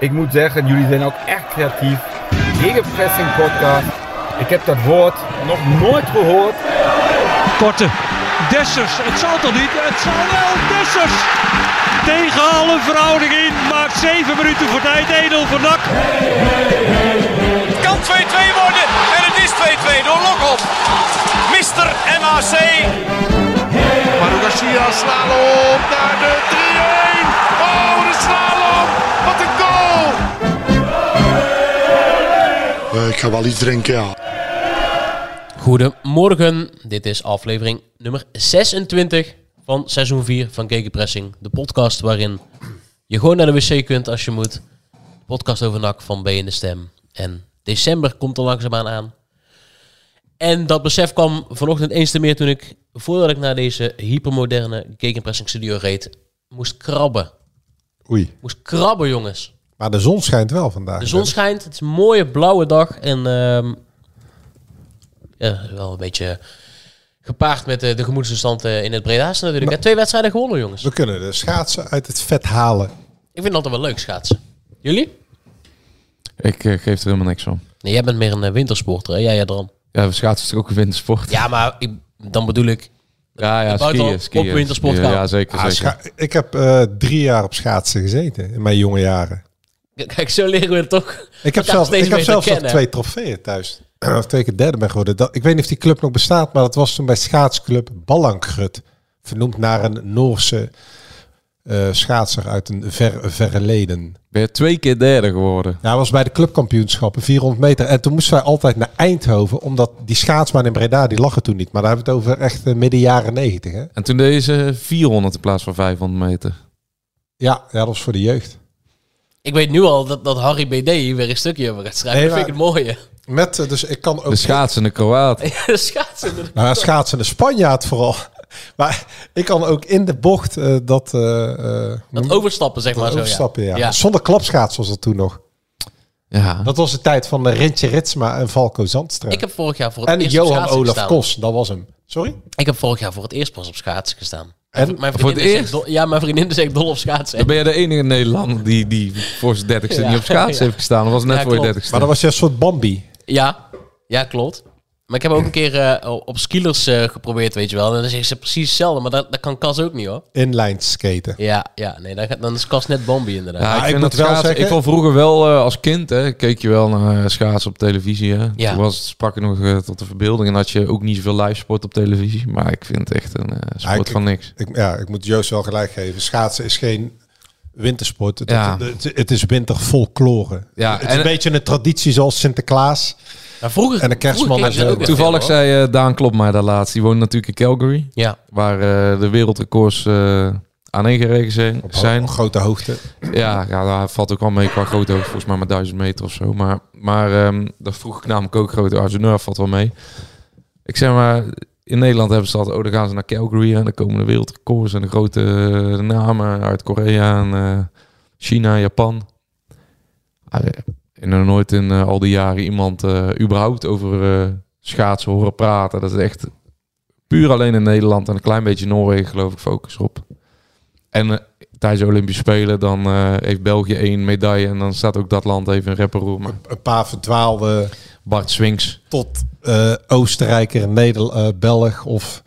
Ik moet zeggen, jullie zijn ook echt creatief. Gegenpressing podcast. Ik heb dat woord nog nooit gehoord. Korte. Dessers. Het zal toch niet? Het zal wel. Dessers. Tegen alle verhouding in. Maakt 7 minuten voor tijd. Edel van Dak. Het kan 2-2 worden. En het is 2-2 door Lokop. Mister MAC. Maru Garcia, slalom naar de 3-1. Oh, wat een slalom. Wat een goal. Eh, ik ga wel iets drinken, ja. Goedemorgen, dit is aflevering nummer 26 van seizoen 4 van Gegenpressing. De podcast waarin je gewoon naar de wc kunt als je moet. De podcast over NAC van B in de Stem. En december komt er langzaamaan aan. En dat besef kwam vanochtend eens te meer toen ik, voordat ik naar deze hypermoderne Gegenpressing studio reed, moest krabben. Oei. Moest krabben, jongens. Maar de zon schijnt wel vandaag. De zon schijnt, het is een mooie blauwe dag en ehm, ja, wel een beetje gepaard met eh, de gemoedsverstand eh, in het Breda's natuurlijk. hè. Twee wedstrijden gewonnen, jongens. We kunnen de schaatsen uit het vet halen. Ik vind het altijd wel leuk schaatsen. Jullie? Ik eh, geef er helemaal niks om. Nee, jij bent meer een eh, wintersporter, hè? Jij, ja, Dram. Ja, schaatsen is toch ook een wintersport? Ja, maar ik, dan bedoel ik... ja, ja buiten al- skiën, op skiën. wintersport skiën, gaan. Ja, zeker, Ah, zeker. scha- ik heb eh, drie jaar op schaatsen gezeten in mijn jonge jaren. Kijk, zo leren we het toch. Ik heb elkaar zelfs, steeds ik heb beter zelfs nog kennen. twee trofeeën thuis. of twee keer derde ben geworden. Dat- ik weet niet of die club nog bestaat, maar dat was toen bij schaatsclub Ballangrut. Vernoemd naar een Noorse eh, schaatser uit een ver, verleden. Ben je twee keer derde geworden? Ja, hij was bij de clubkampioenschappen, 400 meter. En toen moesten wij altijd naar Eindhoven, omdat die schaatsman in Breda, die lag er toen niet. Maar daar hebben we het over echt eh, midden jaren 90. Hè? En toen deze 400 in plaats van 500 meter. Ja, ja, dat was voor de jeugd. Ik weet nu al dat, dat Harry BD hier weer een stukje over gaat schrijven. Nee, dat vind ik het mooie. Met, eh, dus ik kan ook... De schaatsende Kroaat. De schaatsen. Nou, ja, schaatsen de Spanjaard vooral. Maar ik kan ook in de bocht eh, dat... eh, eh, Dat overstappen, zeg maar zo. overstappen, ja. ja. Zonder klapschaats was dat toen nog. Ja. Dat was de tijd van eh, Rintje Ritsma en Valko Zandstra. Ik heb vorig jaar voor het En eerst op Johan schaatsen Olaf gestaan. Kos, dat was hem. Sorry? Ik heb vorig jaar voor het eerst pas op schaatsen gestaan. En? Mijn Voor het vriendin is echt eerst? dol- ja, mijn vriendin is echt dol op schaatsen. Dan ben je de enige Nederlander die, die voor zijn dertigste Ja. niet op schaatsen Ja. heeft gestaan. Of was het net Ja, voor je klopt. dertigste? Maar dan was je een soort Bambi. Ja, ja, klopt. Maar ik heb ook een keer eh, op skilers eh, geprobeerd, weet je wel. En dan zeggen ze precies hetzelfde, maar dat, dat kan Cas ook niet hoor. Inline skaten. Ja, ja nee, dan, gaat- dan is Cas net Bambi inderdaad. Ja, Ja, ik, ik vind moet dat wel schaatsen- zeggen- Ik kon vroeger wel eh, als kind, hè, keek je wel naar eh, schaatsen op televisie. Hè. Ja. Toen was, het- sprak je nog eh, tot de verbeelding. En had je ook niet zoveel live sport op televisie. Maar ik vind het echt een eh, sport Eigenlijk- van niks. Ik, ja, ik moet Joost wel gelijk geven. Schaatsen is geen wintersport. Het, Ja. het, het is winterfolklore. Ja, het is en- een beetje een traditie zoals Sinterklaas. vroeger, en de kerstman vroeger en keek ik dat zo. ook echt Toevallig veel, hoor. zei eh, Daan Klopt mij daar laatst. Die woont natuurlijk in Calgary. Ja, Waar eh, de wereldrecords eh aaneengeregen zijn. Op, zijn. op grote hoogte. Ja, ja, daar valt ook wel mee qua grote hoogte. Volgens mij maar 1000 meter of zo. Maar, maar ehm, dat vroeg ik namelijk ook grote Argeneur valt wel mee. Ik zeg maar, in Nederland hebben ze altijd... Oh, dan gaan ze naar Calgary en dan komen de wereldrecords en de grote eh, namen uit Korea en eh, China, Japan. Ah, eh, En nog nooit in eh, al die jaren iemand eh, überhaupt over eh, schaatsen horen praten. Dat is echt puur alleen in Nederland en een klein beetje Noorwegen geloof ik focus op. En eh, tijdens de Olympische Spelen dan eh, heeft België één medaille en dan staat ook dat land even in rapper Maar Een paar verdwaalde Bart Swings. tot eh, Oostenrijker, Nederl eh, Belg of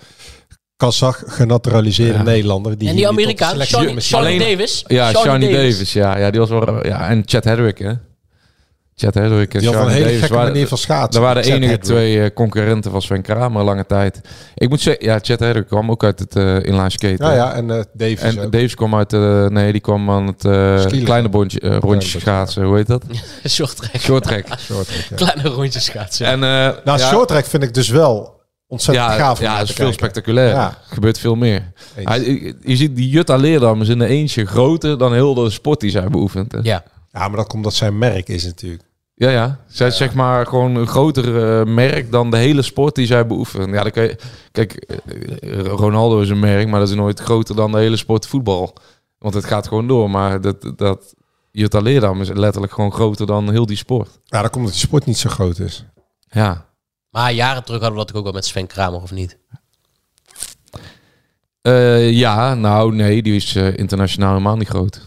Kazach genaturaliseerde Ja. Nederlander. Die en hier die niet op de Amerikaan, selectie Shawnee misschien- Shawnee Alleen- Davis. Ja, Shawnee Shawnee Davis. ja, ja, die was wel. Ja, en Chad Hedrick, hè? Chad Hedrick en Die had een Shawnee hele Davis gekke waren- manier van schaatsen. Dat waren de Chad enige Hedrick. twee eh, concurrenten van Sven Kramer lange tijd. Ik moet zeggen, ja, Chad Hedrick kwam ook uit het eh inline skaten. Ja, ja, en eh Davies En ook. Davis kwam uit, eh, nee, die kwam aan het eh, Skiën. kleine bondje, eh, rondjes Ja, schaatsen, hoe heet dat? Short track. Short track. Shorttrack, ja. Kleine rondjes schaatsen. En, eh, Nou, ja, shorttrack vind ik dus wel ontzettend ja, gaaf. om Ja, naar het te is veel kijken. spectaculair. Ja. Gebeurt veel meer. Eens. Hij, je ziet die Jutta Leerdam is in de eentje groter dan heel de sport die zij beoefent. hè. ja. Ja, maar dat komt dat zijn merk is natuurlijk. Ja, ja. Zij is zeg maar gewoon een groter eh, merk dan de hele sport die zij beoefenen. Ja, dan kan je- kijk, eh, Ronaldo is een merk, maar dat is nooit groter dan de hele sport voetbal. Want het gaat gewoon door. Maar dat, dat Jutta Leerdam is letterlijk gewoon groter dan heel die sport. Ja, dat komt omdat die sport niet zo groot is. Ja. Maar jaren terug hadden we dat ook wel met Sven Kramer, of niet? Eh, ja, nou nee, die is eh, internationaal helemaal niet groot.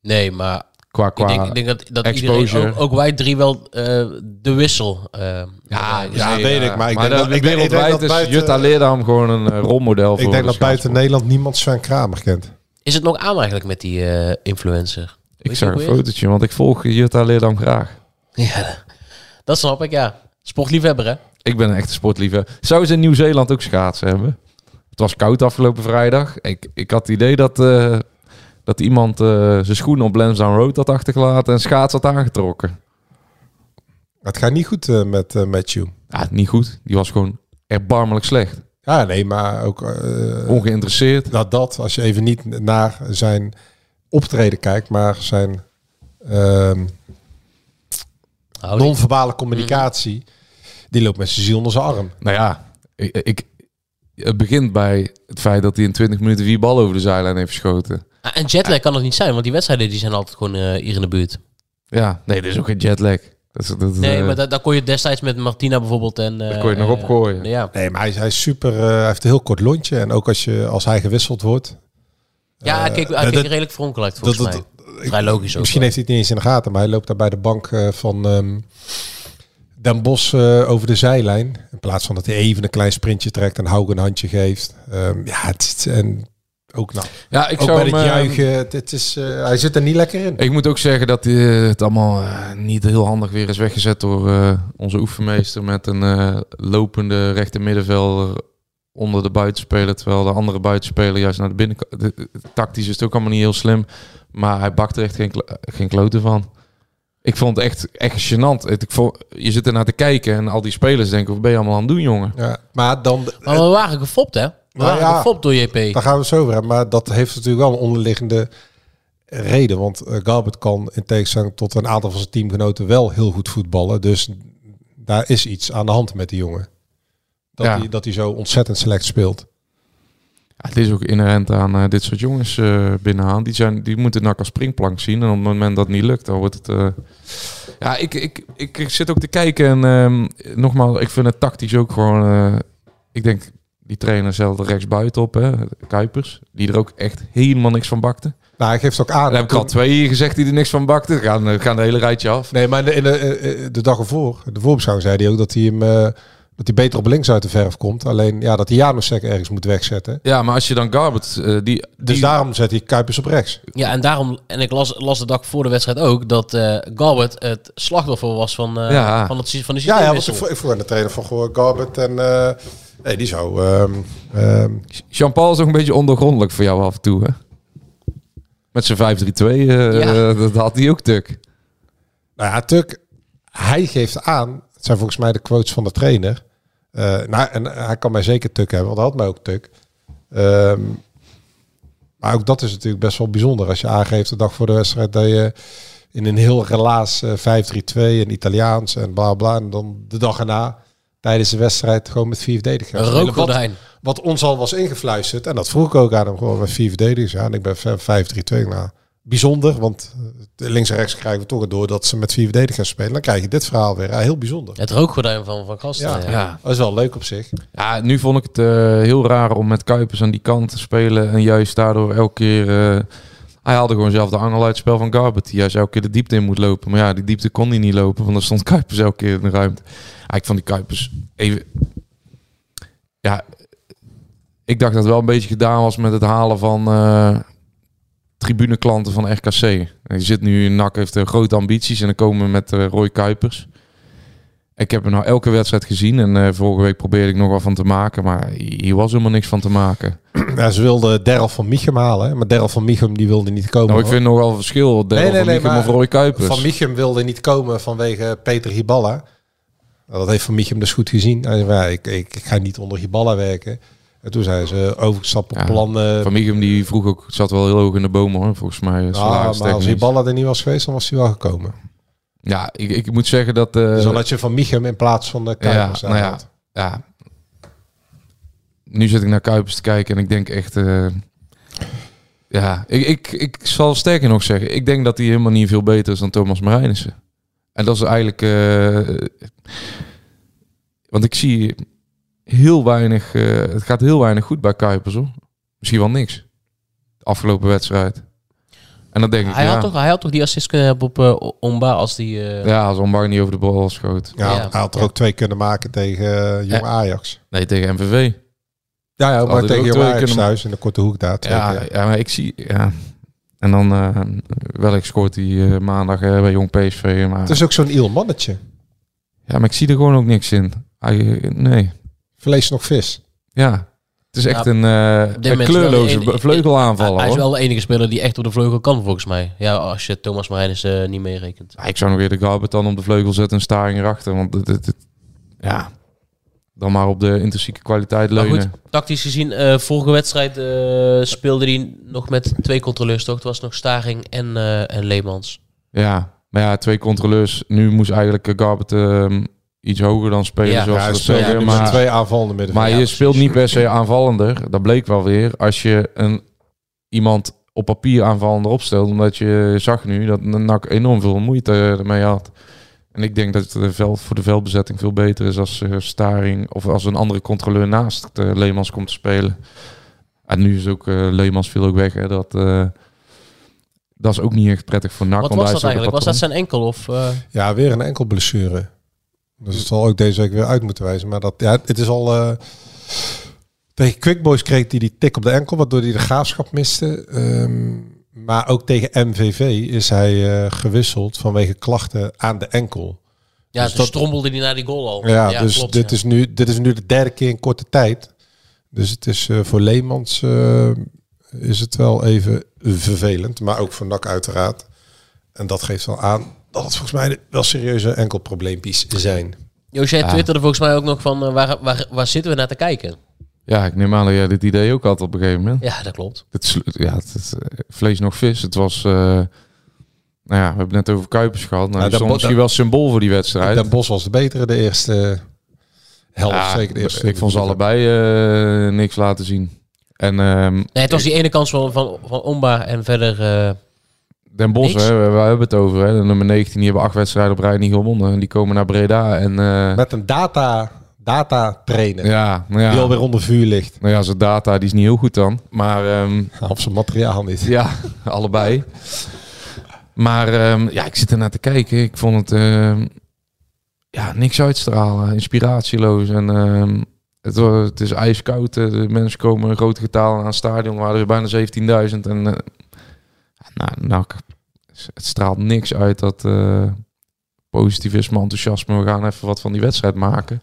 Nee, maar Qua, qua ik denk, ik denk dat, dat exposure. iedereen, ook, ook wij drie wel eh, de wissel. eh, Ja, draaien. ja, weet ik, maar ik denk dat- dat, ik denk- ik denk wereldwijd dat is buiten- Jutta Leerdam gewoon een eh, rolmodel voor Ik denk de dat buiten schaatsport. Nederland niemand Sven Kramer kent. Is het nog aan eigenlijk met die eh, influencer? Ik Weet zag je een ook weer? fotootje, want ik volg Jutta Leerdam graag. Ja, dat snap ik, ja. Sportliefhebber, hè? Ik ben een echte sportliefhebber. Zou ze in Nieuw-Zeeland ook schaatsen hebben? Het was koud afgelopen vrijdag. Ik, ik had het idee dat, eh, dat iemand eh, zijn schoenen op Lansdowne Road had achtergelaten en schaats had aangetrokken. Het gaat niet goed eh, met eh, Matthew. Ja, niet goed. Die was gewoon erbarmelijk slecht. Ja, nee, maar ook eh, Ongeïnteresseerd. nou, dat, als je even niet naar zijn optreden kijkt, maar zijn ehm, Houding. non-verbale communicatie, die loopt met zijn ziel onder zijn arm. Nou ja, ik, ik, het begint bij het feit dat hij in 20 minuten vier ballen over de zijlijn heeft geschoten. Ah, en jetlag kan het niet zijn, want die wedstrijden die zijn altijd gewoon eh, hier in de buurt. Ja, nee, dit is ook geen jetlag. Dat is, dat, Nee, eh, maar da- daar kon je destijds met Martina bijvoorbeeld. En, eh, Dat kon je nog eh, opgooien. Ja, Nee, maar hij, is- hij is super, eh, hij heeft een heel kort lontje. En ook als, je, als hij gewisseld wordt. ja hij keek, hij dat- keek redelijk veronkelijk volgens dat- mij. dat- Vrij logisch ook. Misschien wel. heeft hij het niet eens in de gaten, maar hij loopt daar bij de bank eh, van ehm, Den Bos eh, over de zijlijn. In plaats van dat hij even een klein sprintje trekt en Hauge een handje geeft. Ehm, ja, het, is- en ook, nou, ja, ik ook zou bij het hem, eh, juichen. Het, het is, eh, hij zit er niet lekker in. Ik moet ook zeggen dat eh, het allemaal eh, niet heel handig weer is weggezet door eh, onze oefenmeester met een eh, lopende rechter middenvelder onder de buitenspeler, terwijl de andere buitenspeler juist naar de binnenkant. de- de- Tactisch is het ook allemaal niet heel slim, maar hij bakt er echt geen, klo- geen kloten van. Ik vond het echt, echt gênant. Het- Ik vond, je zit ernaar te kijken en al die spelers denken, wat ben je allemaal aan het doen, jongen? Ja, maar dan, Maar we waren gefopt, hè? We waren ja. gefopt door JP. daar gaan we het zo over hebben. Maar dat heeft natuurlijk wel een onderliggende reden. Want eh, Galbert kan in tegenstelling tot een aantal van zijn teamgenoten wel heel goed voetballen. Dus daar is iets aan de hand met die jongen. Dat, Ja. hij, dat hij zo ontzettend slecht speelt. Ja, het is ook inherent aan eh, dit soort jongens eh binnenaan. Die, zijn, die moeten NAC als springplank zien. En op het moment dat het niet lukt, dan wordt het... eh, Ja, ik, ik, ik, ik zit ook te kijken. En ehm, nogmaals, ik vind het tactisch ook gewoon... eh, ik denk, die trainer zelde rechts buiten op, hè, Kuipers. Die er ook echt helemaal niks van bakte. Nou, hij geeft ook aan. Daar heb ik al twee hier gezegd die er niks van bakte. Er gaan, er gaan de hele rijtje af. Nee, maar in de, in de, eh, eh, de dag ervoor, de voorbeschouwing, zei hij ook dat hij hem eh, dat hij beter op links uit de verf komt. Alleen ja, dat hij Janusek ergens moet wegzetten. Ja, maar als je dan Garbert... eh, die, Dus die- daarom zet hij Kuipers op rechts. Ja, en daarom, en ik las, las de dag voor de wedstrijd ook, dat eh Galbert het slachtoffer was van, eh, Ja. van, het, sy- van de Ja, ja want systeemwissel. ik vroeg- ik vroeg aan de trainer van goh, Garbert en eh, nee, die zou. ehm, ehm, Jean-Paul is ook een beetje ondergrondelijk voor jou af en toe, hè? Met zijn 5-3-2, eh, Ja. dat had hij ook tuk. nou ja, Tuk, hij geeft aan. Het zijn volgens mij de quotes van de trainer. Eh, nou, en hij kan mij zeker Tuk hebben, want hij had mij ook Tuk. Ehm, maar ook dat is natuurlijk best wel bijzonder. Als je aangeeft de dag voor de wedstrijd dat je in een heel relaas eh, 5-3-2 en Italiaans en bla bla. En dan de dag erna tijdens de wedstrijd gewoon met vier verdedigers. Een rookgordijn. wat ons al was ingefluisterd. En dat vroeg ik ook aan hem gewoon met vier verdedigers. Ja, en ik ben fan 5-3-2. Nou, bijzonder, want eh, links en rechts krijgen we toch het door dat ze met vier verdedigers spelen. Dan krijg je dit verhaal weer. Ja, heel bijzonder. Het rookgordijn van Van Gasten. Ja. Ja. Ja. Dat is wel leuk op zich. ja, nu vond ik het eh, heel raar om met Kuipers aan die kant te spelen. En juist daardoor elke keer... eh, hij haalde gewoon zelf de angel uit het spel van Garbert. Die juist elke keer de diepte in moet lopen. Maar ja, die diepte kon hij niet lopen, want dan stond Kuipers elke keer in de ruimte. Ja, ik vond die Kuipers even... Ja, ik dacht dat het wel een beetje gedaan was met het halen van... eh, tribuneklanten van RKC. Je zit nu in NAC, heeft eh, grote ambities en dan komen we met eh, Roy Kuipers. Ik heb hem nou elke wedstrijd gezien en eh, vorige week probeerde ik nog wel van te maken, maar hier was helemaal niks van te maken. Ja, ze wilden Derel van Michem halen, hè, maar Derel van Michem die wilde niet komen. nou, ik hoor. vind dus. nog wel een verschil. Deel Oh. Nee, nee, van nee, Mieke maar- of Roy Kuipers. Van Michem wilde niet komen vanwege Peter Hiballa. Nou, dat heeft Van Michem dus goed gezien. Hij zei, ja, ik, ik, ik ga niet onder Hiballa werken. En toen zijn ze overgestapt op Ja, plannen. Van Mieke, die vroeg ook, zat wel heel hoog in de bomen hoor, volgens mij. Ja, eh, Ah, maar als salaristechnisch. Hiballa er niet was geweest, dan was hij wel gekomen. ja, ik, ik moet zeggen dat... eh, dus dan had je Van Michem in plaats van de ja, Kuipers. nou ja, aanhaalt. ja. Nu zit ik naar Kuipers te kijken en ik denk echt... eh, ja, ik, ik, ik zal sterker nog zeggen. Ik denk dat hij helemaal niet veel beter is dan Thomas Marijnissen. En dat is eigenlijk... eh, want ik zie heel weinig... eh, het gaat heel weinig goed bij Kuipers, hoor. Misschien wel niks. De afgelopen wedstrijd. En En dan denk ik, Hij, ja, had toch, hij had toch die assist kunnen hebben op eh Omba als die... eh, ja, als Ombar niet over de bal schoot. Ja, Ja. Hij had er ook twee kunnen maken tegen eh, Jong Ja. Ajax. Nee, tegen MVV. Ja, ja Had maar er ook tegen Jong twee Ajax kunnen ma- thuis in de korte hoek daar. Twee Ja, ja, ja, maar ik zie... Ja. En dan eh welk scoort hij eh, maandag eh, bij Jong PSV. Maar, Het Dus- is ook zo'n iel mannetje. Ja, maar ik zie er gewoon ook niks in. Hij- eh, nee, Vlees nog vis. ja. Het is echt Ja, een, eh, op dit een moment is wel de kleurloze enige- be- vleugelaanvaller. hij is hoor. wel de enige speler die echt op de vleugel kan, volgens mij. Ja, als je Thomas Marijnis eh, niet meerekent. Ja, ik zou nog weer de Garbert dan op de vleugel zetten en Staring erachter. Want dit, dit- dit- ja, dan maar op de intrinsieke kwaliteit Maar leunen. goed, tactisch gezien, eh, vorige wedstrijd eh, speelde hij nog met twee controleurs, toch? Het was nog Staring en, eh, en Leemans. Ja, maar ja, twee controleurs. Nu moest eigenlijk eh, Garbert ehm, iets hoger dan spelen Ja. zoals Ja, ze hij dat speelt zeggen. nu met maar twee aanvallende middenvelders. maar Ja, je precies. speelt niet per se aanvallender. Dat bleek wel weer. Als je een, iemand op papier aanvallender opstelt. Omdat je zag nu dat NAC enorm veel moeite ermee had. En ik denk dat het veld voor de veldbezetting veel beter is als eh, Staring of als een andere controleur naast eh, Leemans komt te spelen. En nu is ook eh, Leemans viel ook weg. Hè, dat, eh, dat is ook niet echt prettig voor NAC. Wat want was hij dat is ook een eigenlijk? Was dat patroon. zijn enkel of... eh, Ja, weer een enkel blessure. Dus het zal ook deze week weer uit moeten wijzen. Maar dat, ja, het is al... eh, tegen Quick Boys kreeg hij die tik op de enkel, waardoor hij de graafschap miste. Ehm, maar ook tegen MVV is hij eh, gewisseld vanwege klachten aan de enkel. ja, Dus dus dat- strombelde hij naar die goal al. Ja, dus dit, ja. Is nu, dit is nu de derde keer in korte tijd. Dus het is eh, voor Leemans eh, is het wel even vervelend. Maar ook voor NAC uiteraard. En dat geeft wel aan dat het volgens mij wel serieuze enkelprobleempjes zijn. Joost, jij twitterde volgens mij ook nog van eh, waar, waar, waar zitten we naar te kijken? Ja, ik neem aan dat jij dit idee ook had op een gegeven moment. Ja, dat klopt. Het, slu- ja, het, het, eh, vlees nog vis. Het was. eh, nou ja, we hebben het net over Kuipers gehad. Nou, Ja, die dat stond bo- misschien dat- wel symbool voor die wedstrijd. Den Bos was de betere de eerste helft. Ja, zeker de eerste. ik vond ze allebei eh, niks laten zien. En ehm Nee, het was die ene kans van, van, van Omba en verder... eh, Den Bos, Niks. hè, we, we hebben het over. Hè, de nummer 19, die hebben acht wedstrijden op rij niet gewonnen. En die komen naar Breda. En eh, Met een data, data trainer. ja, nou ja, Die alweer onder vuur ligt. nou ja, zijn data die is niet heel goed dan. Maar ehm, Of zijn materiaal niet. Ja, allebei. Maar ehm, ja, ik zit ernaar te kijken. Ik vond het ehm, ja, niks uitstralen. Inspiratieloos. En ehm, het, wa- het is ijskoud. eh, De mensen komen in grote getalen aan het stadion. Er waren er bijna 17.000. En eh, nou, nou, ik- het straalt niks uit dat eh, positivisme, enthousiasme. We gaan even wat van die wedstrijd maken.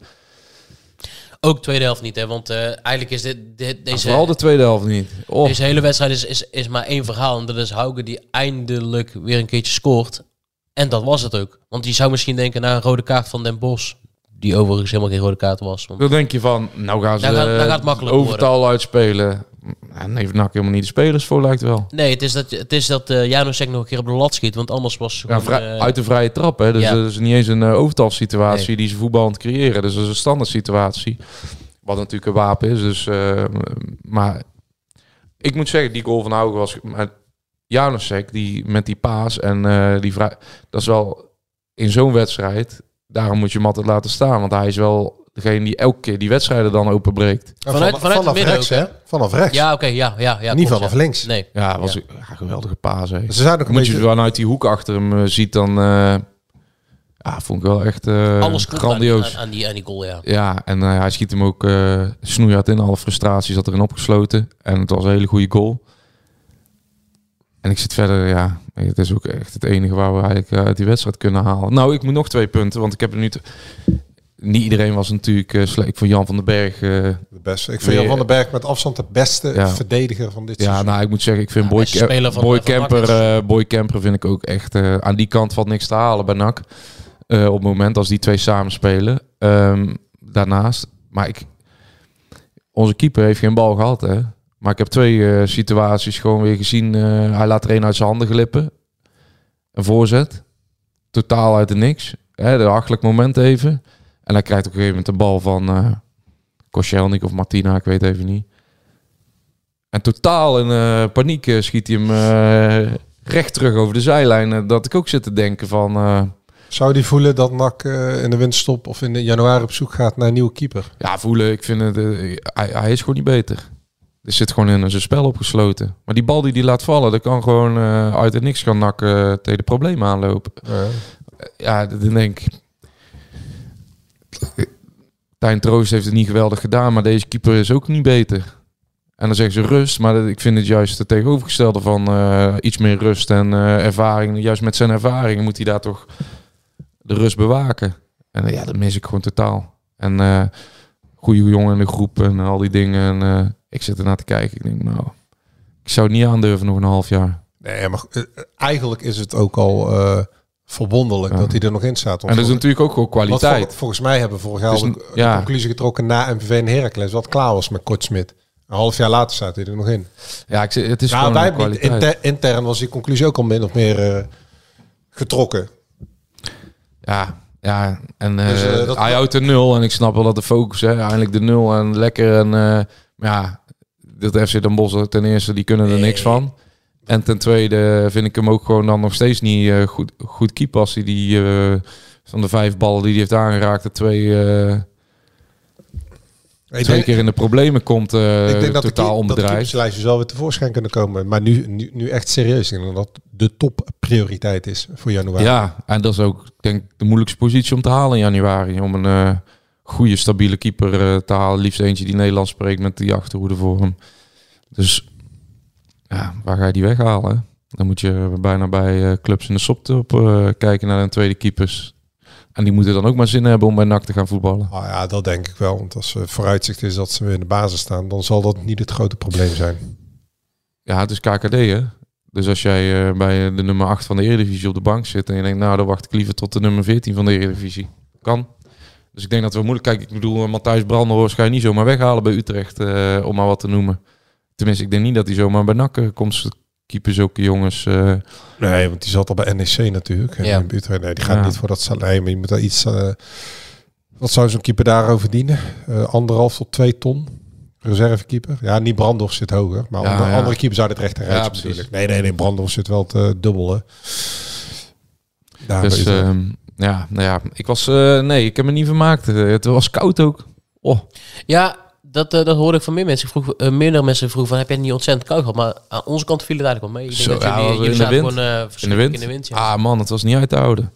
Ook tweede helft niet, hè? Want eh, eigenlijk is dit, dit En deze, Vooral de tweede helft niet. Oh, deze hele wedstrijd is, is, is maar één verhaal. En dat is Hauge die eindelijk weer een keertje scoort. En dat was het ook. Want je zou misschien denken naar een rode kaart van Den Bos. Die overigens helemaal geen rode kaart was. Want Dan denk je van, nou gaan ze Nou gaat- nou gaat het eh, makkelijk overtal uitspelen. En heeft NAC helemaal niet de spelers voor, lijkt wel. Nee, het is dat, het is dat eh Janusek nog een keer op de lat schiet. Want anders was Ja, gewoon, vrij- eh, uit de vrije trap, hè. Dus ja. dat is niet eens een eh, overtalsituatie Nee. die ze voetbal aan het creëren. Dus dat is een standaard situatie. Wat natuurlijk een wapen is. Dus, eh, maar ik moet zeggen, die goal van Haugen was... Maar Janusek, die met die paas en eh, die vrij... Dat is wel in zo'n wedstrijd... Daarom moet je hem altijd laten staan. Want hij is wel degene die elke keer die wedstrijden dan openbreekt. En Vanuit- vanuit het Eh, vanaf midden rechts, ook, hè? Vanaf rechts. Ja, oké, ja, ja, ja. niet klopt, vanaf ja. links. Nee. Ja, was een ja, geweldige paas. hè. Ze zijn ook een Moet beetje... je vanuit die hoek achter hem eh, ziet, dan eh, ja, vond ik wel echt eh, Alles klopt aan, grandioos. aan, aan, die, aan die goal, ja. Ja, en eh, hij schiet hem ook eh snoeihard in. Alle frustratie zat erin opgesloten. En het was een hele goede goal. En ik zit verder, ja, het is ook echt het enige waar we eigenlijk eh, uit die wedstrijd kunnen halen. Nou, ik moet nog twee punten, want ik heb er nu... te- Niet iedereen was natuurlijk eh slecht. Ik vond Jan van den Berg... eh, De beste. Ik Weer- vind Jan van den Berg met afstand de beste eh, Ja. verdediger van dit Ja, seizoen. nou, ik moet zeggen, ik vind Ja, Boy, beste speler van- Boy, van Camper, NAC eh, Boy Camper vind ik ook echt... eh, aan die kant valt niks te halen bij NAC. Eh, op het moment als die twee samen spelen. Ehm, daarnaast, maar ik... Onze keeper heeft geen bal gehad, hè. Maar ik heb twee eh, situaties gewoon weer gezien. Eh, hij laat er één uit zijn handen glippen. Een voorzet. Totaal uit de niks. Hè, de achterlijk moment even. En hij krijgt op een gegeven moment de bal van... eh Koscielnik of Martina, ik weet even niet. En totaal in eh, paniek eh, schiet hij hem eh, recht terug over de zijlijn. eh, dat ik ook zit te denken van... eh, Zou die voelen dat NAC eh, in de winterstop of in de januari op zoek gaat naar een nieuwe keeper? ja, voelen, ik vind het... eh, hij, hij is gewoon niet beter. Er zit gewoon in zijn spel opgesloten. Maar die bal die die laat vallen, dat kan gewoon eh, uit het niks gaan nakken eh, tegen de problemen aanlopen. Eh, Ja, dat- dan denk ik... eh, Tijn Troost heeft het niet geweldig gedaan, maar deze keeper is ook niet beter. En dan zeggen ze rust, maar dat- ik vind het juist het tegenovergestelde van eh, iets meer rust en eh, ervaring. Juist met zijn ervaring moet hij daar toch de rust bewaken. En eh, ja, dat mis ik gewoon totaal. En eh goede jongen in de groep en al die dingen. En, eh, ik zit ernaar te kijken. Ik denk, nou, ik zou het niet aandurven nog een half jaar. Nee, maar eh, eigenlijk is het ook al eh, verwonderlijk Ja. dat hij er nog in staat. En dat is natuurlijk ook gewoon Want kwaliteit. vol- volgens mij hebben we vorig jaar Dus al een- de, de ja. conclusie getrokken na MVV en Heracles, wat klaar was met Kortsmit. Een half jaar later staat hij er nog in. Ja, ik, zeg, het is Nou, gewoon wij een hebben niet- kwaliteit. inter- intern was die conclusie ook al min of meer eh, getrokken. Ja, ja. En eh, Dus, eh, dat- hij houdt de nul. En ik snap wel dat de focus, hè, eindelijk de nul en lekker. En eh, maar ja, dat FC Den Bosch, ten eerste, die kunnen er niks van. En ten tweede vind ik hem ook gewoon dan nog steeds niet eh, goed, goed keeper als hij die eh, van de vijf ballen die hij heeft aangeraakt, de twee eh, Ik twee denk- keer in de problemen komt, eh, ik denk dat de, totaal key- dat de onbedrijf. keeperslijstjes wel weer tevoorschijn kunnen komen. Maar nu, nu, nu echt serieus. Ik denk dat dat de topprioriteit is voor januari. Ja, en dat is ook denk ik, de moeilijkste positie om te halen in januari. Om een eh, goede, stabiele keeper eh, te halen. Liefst eentje die Nederlands spreekt met die achterhoede voor hem. Dus ja, waar ga je die weghalen? hè? Dan moet je bijna bij eh, clubs in de soptop eh kijken naar hun tweede keepers. En die moeten dan ook maar zin hebben om bij NAC te gaan voetballen. Ah ja, dat denk ik wel. Want als eh, vooruitzicht is dat ze weer in de basis staan, dan zal dat niet het grote probleem zijn. Ja, het is KKD hè. Dus als jij eh, bij de nummer 8 van de Eredivisie op de bank zit en je denkt, nou dan wacht ik liever tot de nummer 14 van de Eredivisie. Kan. Dus ik denk dat we moeilijk. Kijk, ik bedoel, eh, Matthijs Brandenhorst ga je niet zomaar weghalen bij Utrecht, eh, om maar wat te noemen. Tenminste, ik denk niet dat hij zomaar bij NAC eh, komt. Keeper zulke jongens. eh, Nee, want die zat al bij NEC natuurlijk. Ja. Ja. Nee, die gaat Ja. niet voor dat salair. Maar je moet daar iets... eh, wat zou zo'n keeper daarover dienen? Eh, anderhalf tot twee ton. Reservekeeper. Ja, niet Brandhoff zit hoger. Maar Ja, andere, ja. andere keepers uit het rechter Ja, ja, precies. natuurlijk. Nee, nee, nee. Brandhoff zit wel te dubbelen. Daar dus is het. ehm, ja, nou ja, ik was. eh, nee, ik heb me niet vermaakt. Eh, Het was koud ook. Oh, Ja, dat, eh, dat hoorde ik van meer mensen. Ik vroeg, eh, meerdere mensen vroegen van, heb jij het niet ontzettend koud gehad? Maar aan onze kant viel het eigenlijk wel mee. Ik denk Zo, dat ja, jullie, in jullie de zaten wind. gewoon eh, in de verschrikkelijk wind. in de wind. ja. Ah man, het was niet uit te houden.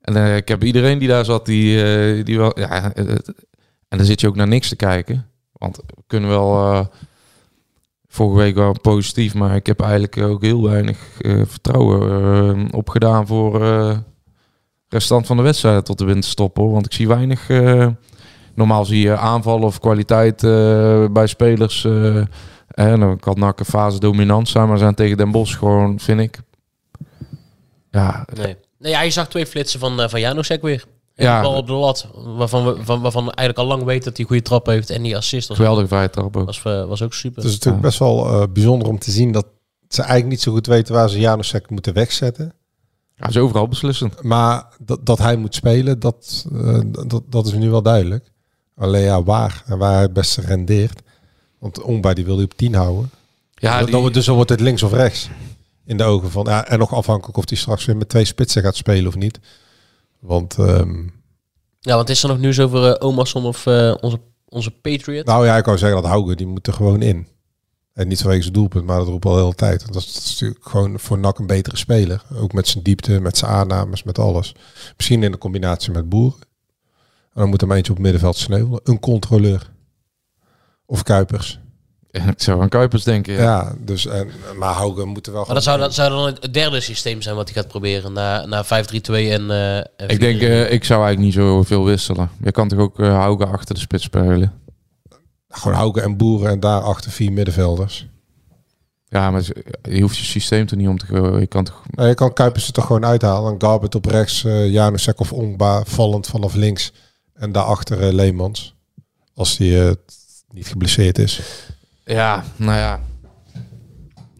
En eh, ik heb iedereen die daar zat, die, eh, die wel. Ja, eh, het- en dan zit je ook naar niks te kijken. Want we kunnen wel. eh, vorige week wel positief, maar ik heb eigenlijk ook heel weinig eh, vertrouwen eh, opgedaan voor eh, restant van de wedstrijden tot de winterstop. Hoor. Want ik zie weinig. eh, normaal zie je aanvallen of kwaliteit eh, bij spelers. eh en dan kan NAC een fase dominant zijn, maar zijn tegen Den Bosch gewoon, vind ik. Ja, Nee. nee, ja, je zag twee flitsen van, eh, van Janusek weer. Ja. Ja. Bal op de lat, waarvan we, van, waarvan we eigenlijk al lang weten dat hij goede trap heeft. En die assist was, geweldig Dus- vrije trap ook. was, eh, was ook super. Het is natuurlijk Ja. best wel eh, bijzonder om te zien dat ze eigenlijk niet zo goed weten waar ze Janusek moeten wegzetten. Hij is overal beslissend. Maar dat, dat hij moet spelen, dat, eh, dat, dat is nu wel duidelijk. Alleen ja, waar en waar hij het beste rendeert. Want Ongba die wil hij op 10 houden. Ja, Dan- die- dan wordt- dus dan wordt het links of rechts. In de ogen van. Ja, en nog afhankelijk of hij straks weer met twee spitsen gaat spelen of niet. Want ehm, Ja, want is er nog nieuws over eh Omerson of eh, onze, onze Patriot? nou ja, ik kan zeggen dat Hauge die moet er gewoon in. En niet vanwege zijn doelpunt, maar dat roept al de hele tijd. Want dat is natuurlijk gewoon voor NAC een betere speler. Ook met zijn diepte, met zijn aannames, met alles. Misschien in de combinatie met Boer. En dan moet er maar eentje op het middenveld sneuvelen. Een controleur. Of Kuipers. ik zou aan Kuipers denken. Ja, Ja. dus... En, maar Hauge moet er wel... maar gewoon dat zou, dat zou dan het derde systeem zijn wat hij gaat proberen. Na, na 5-3-2 en... eh, en Ik denk, 4-3-3. eh, ik zou eigenlijk niet zo veel wisselen. Je kan toch ook eh Hauge achter de spits spelen? Gewoon Hauge en Boeren en daarachter vier middenvelders. Ja, maar je hoeft je systeem er niet om te gooien. Je kan toch... Nou, je kan Kuipers er toch gewoon uithalen. En Garbert op rechts, eh Janusek of Ongba vallend vanaf links. En daarachter eh, Leemans. Als die eh, niet geblesseerd is. Ja, nou ja.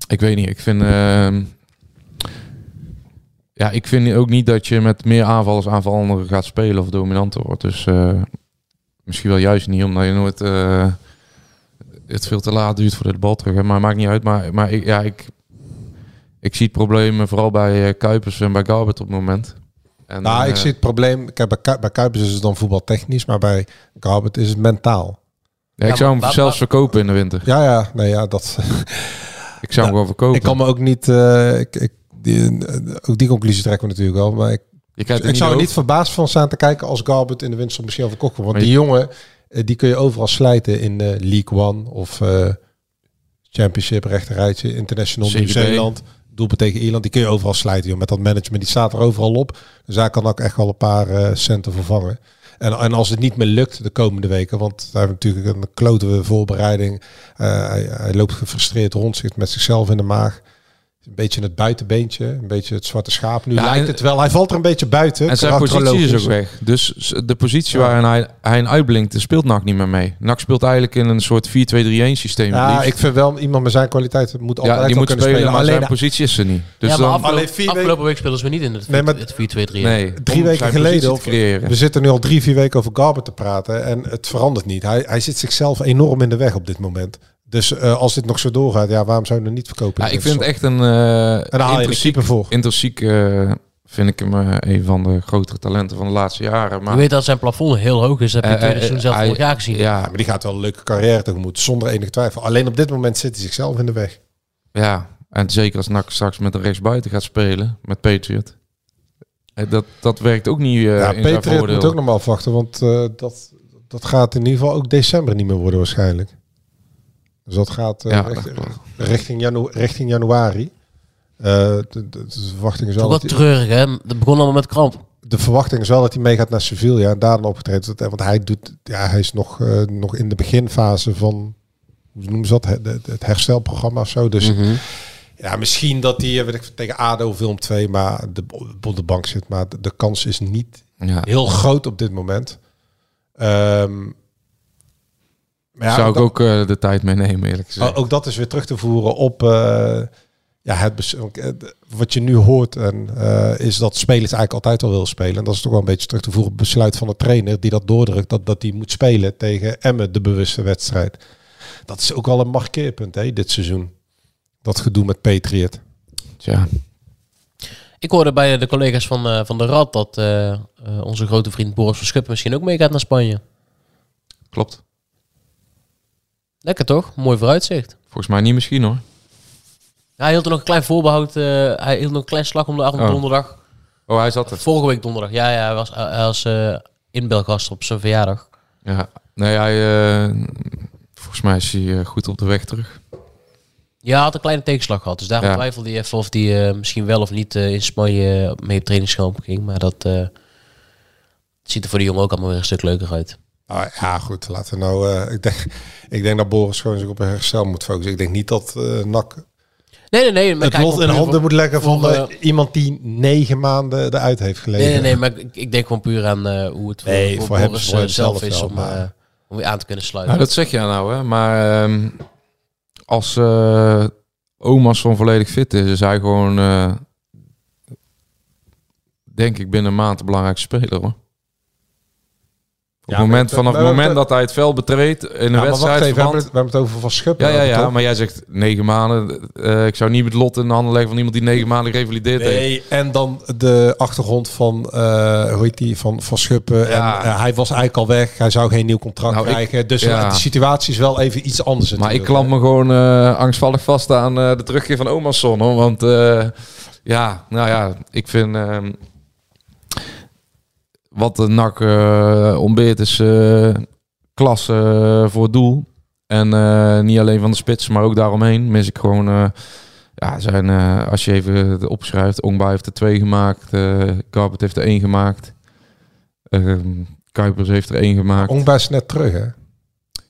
Ik weet niet. Ik vind... ehm, Ja, ik vind ook niet dat je met meer aanvallers aanvallender gaat spelen of dominanter wordt. Dus eh, misschien wel juist niet, omdat je nooit... eh, het veel te laat duurt voordat de bal terug is. Maar maakt niet uit. Maar, maar ik, ja, ik, ik zie het probleem eh, vooral bij eh, Kuipers en bij Garbert op het moment. En, Nou, ik eh, zie het probleem. Kijk, bij, Ku- bij Kuipers is het dan voetbaltechnisch, maar bij Garbert is het mentaal. Ja, ik maar zou hem waar- zelfs waar- verkopen in de winter. Ja, ja, nee, ja, dat. Ik zou hem wel verkopen. Ik kan me ook niet. eh, ik, ik, die, eh, ook die conclusie trekken we natuurlijk wel. Maar ik, je krijgt ik het zou er niet niet verbaasd van staan te kijken als Garbert in de winst misschien verkocht wordt. Maar Want je- die jongen, eh, die kun je overal slijten in eh, League One of eh, Championship, rechterrijtje, International, CDB. Nieuw-Zeeland. Doelpunt tegen Ierland, die kun je overal slijten. Joh. Met dat management, die staat er overal op. Dus daar kan ook echt wel een paar eh, centen voor vangen. En, en als het niet meer lukt de komende weken, want hij heeft natuurlijk een klote voorbereiding. Eh, hij, hij loopt gefrustreerd rond, zit met zichzelf in de maag. Een beetje het buitenbeentje, een beetje het zwarte schaap. Nu Ja, lijkt en- het wel, hij valt er een beetje buiten. En zijn positie is karakterologisch. ook weg. Dus s- de positie Ja. waarin hij, hij in uitblinkt, daar speelt NAC niet meer mee. NAC speelt eigenlijk in een soort 4-2-3-1 systeem. het Ja, liefst. ik vind wel, iemand met zijn kwaliteit moet altijd ja die wel moet kunnen spelen, spelen. maar zijn Alleen positie is er niet. Dus ja, maar dan, afgelopen, Alleen vier weken- afgelopen week speelden ze weer niet in het, Nee, maar- het 4-2-3. nee, drie om weken zijn positie geleden, te creëren. we zitten nu al drie, vier weken over Garber te praten en het verandert niet. Hij, hij zit zichzelf enorm in de weg op dit moment. Dus eh, als dit nog zo doorgaat, ja, waarom zou je hem niet verkopen? Ja, ik vind het het echt een En daar eh haal je een intrinsiek, keeper voor. intrinsiek eh, vind ik hem eh, een van de grotere talenten van de laatste jaren. Je Maar weet dat zijn plafond heel hoog is. Dat heb je Eh, tweede eh, seizoen zelf hij- vorig jaar gezien. Ja, maar die gaat wel een leuke carrière tegemoet, zonder enige twijfel. Alleen op dit moment zit hij zichzelf in de weg. ja, en zeker als NAC straks met een rechtsbuiten gaat spelen, met Patriot. Eh, Dat, dat werkt ook niet eh ja, in zijn Peter voordeel. moet ook nog maar afwachten, want eh, dat, dat gaat in ieder geval ook december niet meer worden waarschijnlijk. Dus dat gaat eh, Ja, recht- dat klopt. richting, janu richting januari. Eh, de, de- de verwachting Dat is is wel ook wel dat hij, treurig, hè? Dat begon allemaal met kramp. de verwachting is wel dat hij meegaat naar Sevilla en daar dan opgetreden wordt. Eh, Want hij, doet, ja, hij is nog, eh, nog in de beginfase van, hoe noemen ze dat, He- de- de- het herstelprogramma of zo. Dus Mhm. ja, misschien dat hij eh, weet ik, veel, tegen ADO film 2 maar de, op de bank zit. Maar de- de kans is niet Ja. heel groot op dit moment. Ehm, maar ja, Zou ik dat- Oh, ook eh, de tijd meenemen, eerlijk gezegd. ook dat is weer terug te voeren op eh, ja, het bes- eh, wat je nu hoort. En, eh, is dat spelers eigenlijk altijd al willen spelen. En dat is toch wel een beetje terug te voeren op het besluit van de trainer. Die dat doordrukt dat, dat die moet spelen tegen Emmen, de bewuste wedstrijd. Dat is ook wel een markeerpunt hè, dit seizoen. Dat gedoe met Patriot. Tja. Ik hoorde bij de collega's van, eh, van de Rad dat eh, eh, onze grote vriend Boris Verschuppen misschien ook meegaat naar Spanje. Klopt. Lekker toch? Mooi vooruitzicht. Volgens mij niet misschien hoor. Hij hield er nog een klein voorbehoud. eh, hij hield nog een klein slag om de arm Oh. donderdag. Oh, hij zat er. Vorige week donderdag. Ja, ja hij was, hij was eh, inbelgast op zijn verjaardag. Ja. Nee, hij, eh, volgens mij is hij eh, goed op de weg terug. Ja, hij had een kleine tegenslag gehad. Dus daarom Ja. twijfelde hij even of hij eh, misschien wel of niet eh, in Spanje mee op trainingskamp ging. Maar dat eh, ziet er voor de jongen ook allemaal weer een stuk leuker uit. Ah, ja, goed. Laten we nou. eh, ik, denk, ik denk dat Boris gewoon zich op een herstel moet focussen. Ik denk niet dat eh NAC Nee, nee, nee. Maar het kijk, lot op- in handen moet leggen van voor, eh, iemand die negen maanden eruit heeft gelegen. Nee, nee, nee, maar ik, ik denk gewoon puur aan eh, hoe het voor, Nee, voor voor hem- Boris voor eh, hemzelf zelf is wel, om, maar- eh, om weer aan te kunnen sluiten. Nou, dat zeg je nou, hè. Maar ehm, als eh Oma's van volledig fit is, is hij gewoon, eh, denk ik, binnen een maand de belangrijkste speler, hoor. Op het maar moment, dat- vanaf maar het dat- moment dat hij het veld betreedt in een Ja, maar wacht wedstrijd... even, we hebben, verband- het, we hebben het over van Schuppen. Ja, ja, hebben we ja, het maar jij zegt negen maanden. Eh, ik zou niet het lot in de handen leggen van iemand die negen maanden gerevalideerd toch? heeft. Nee, en dan de achtergrond van, eh hoe heet die, van, van Schuppen. Ja. En, eh, hij was eigenlijk al weg, hij zou geen nieuw contract Nou, ik- krijgen. dus ja. de situatie is wel even iets anders. Maar ik natuurlijk, klamp me gewoon eh, angstvallig vast aan eh, de terugkeer van Omarsson. Hoor, want eh, ja, nou ja, ik vind... ehm, wat de NAC eh, ontbeert is eh, klasse eh, voor het doel. En eh, niet alleen van de spits, maar ook daaromheen mis ik gewoon... eh, ja, zijn, eh, als je even het opschrijft, Ongba heeft er twee gemaakt. eh Carpet heeft er één gemaakt. ehm, Kuipers heeft er één hè. gemaakt. Ongba is net terug, hè?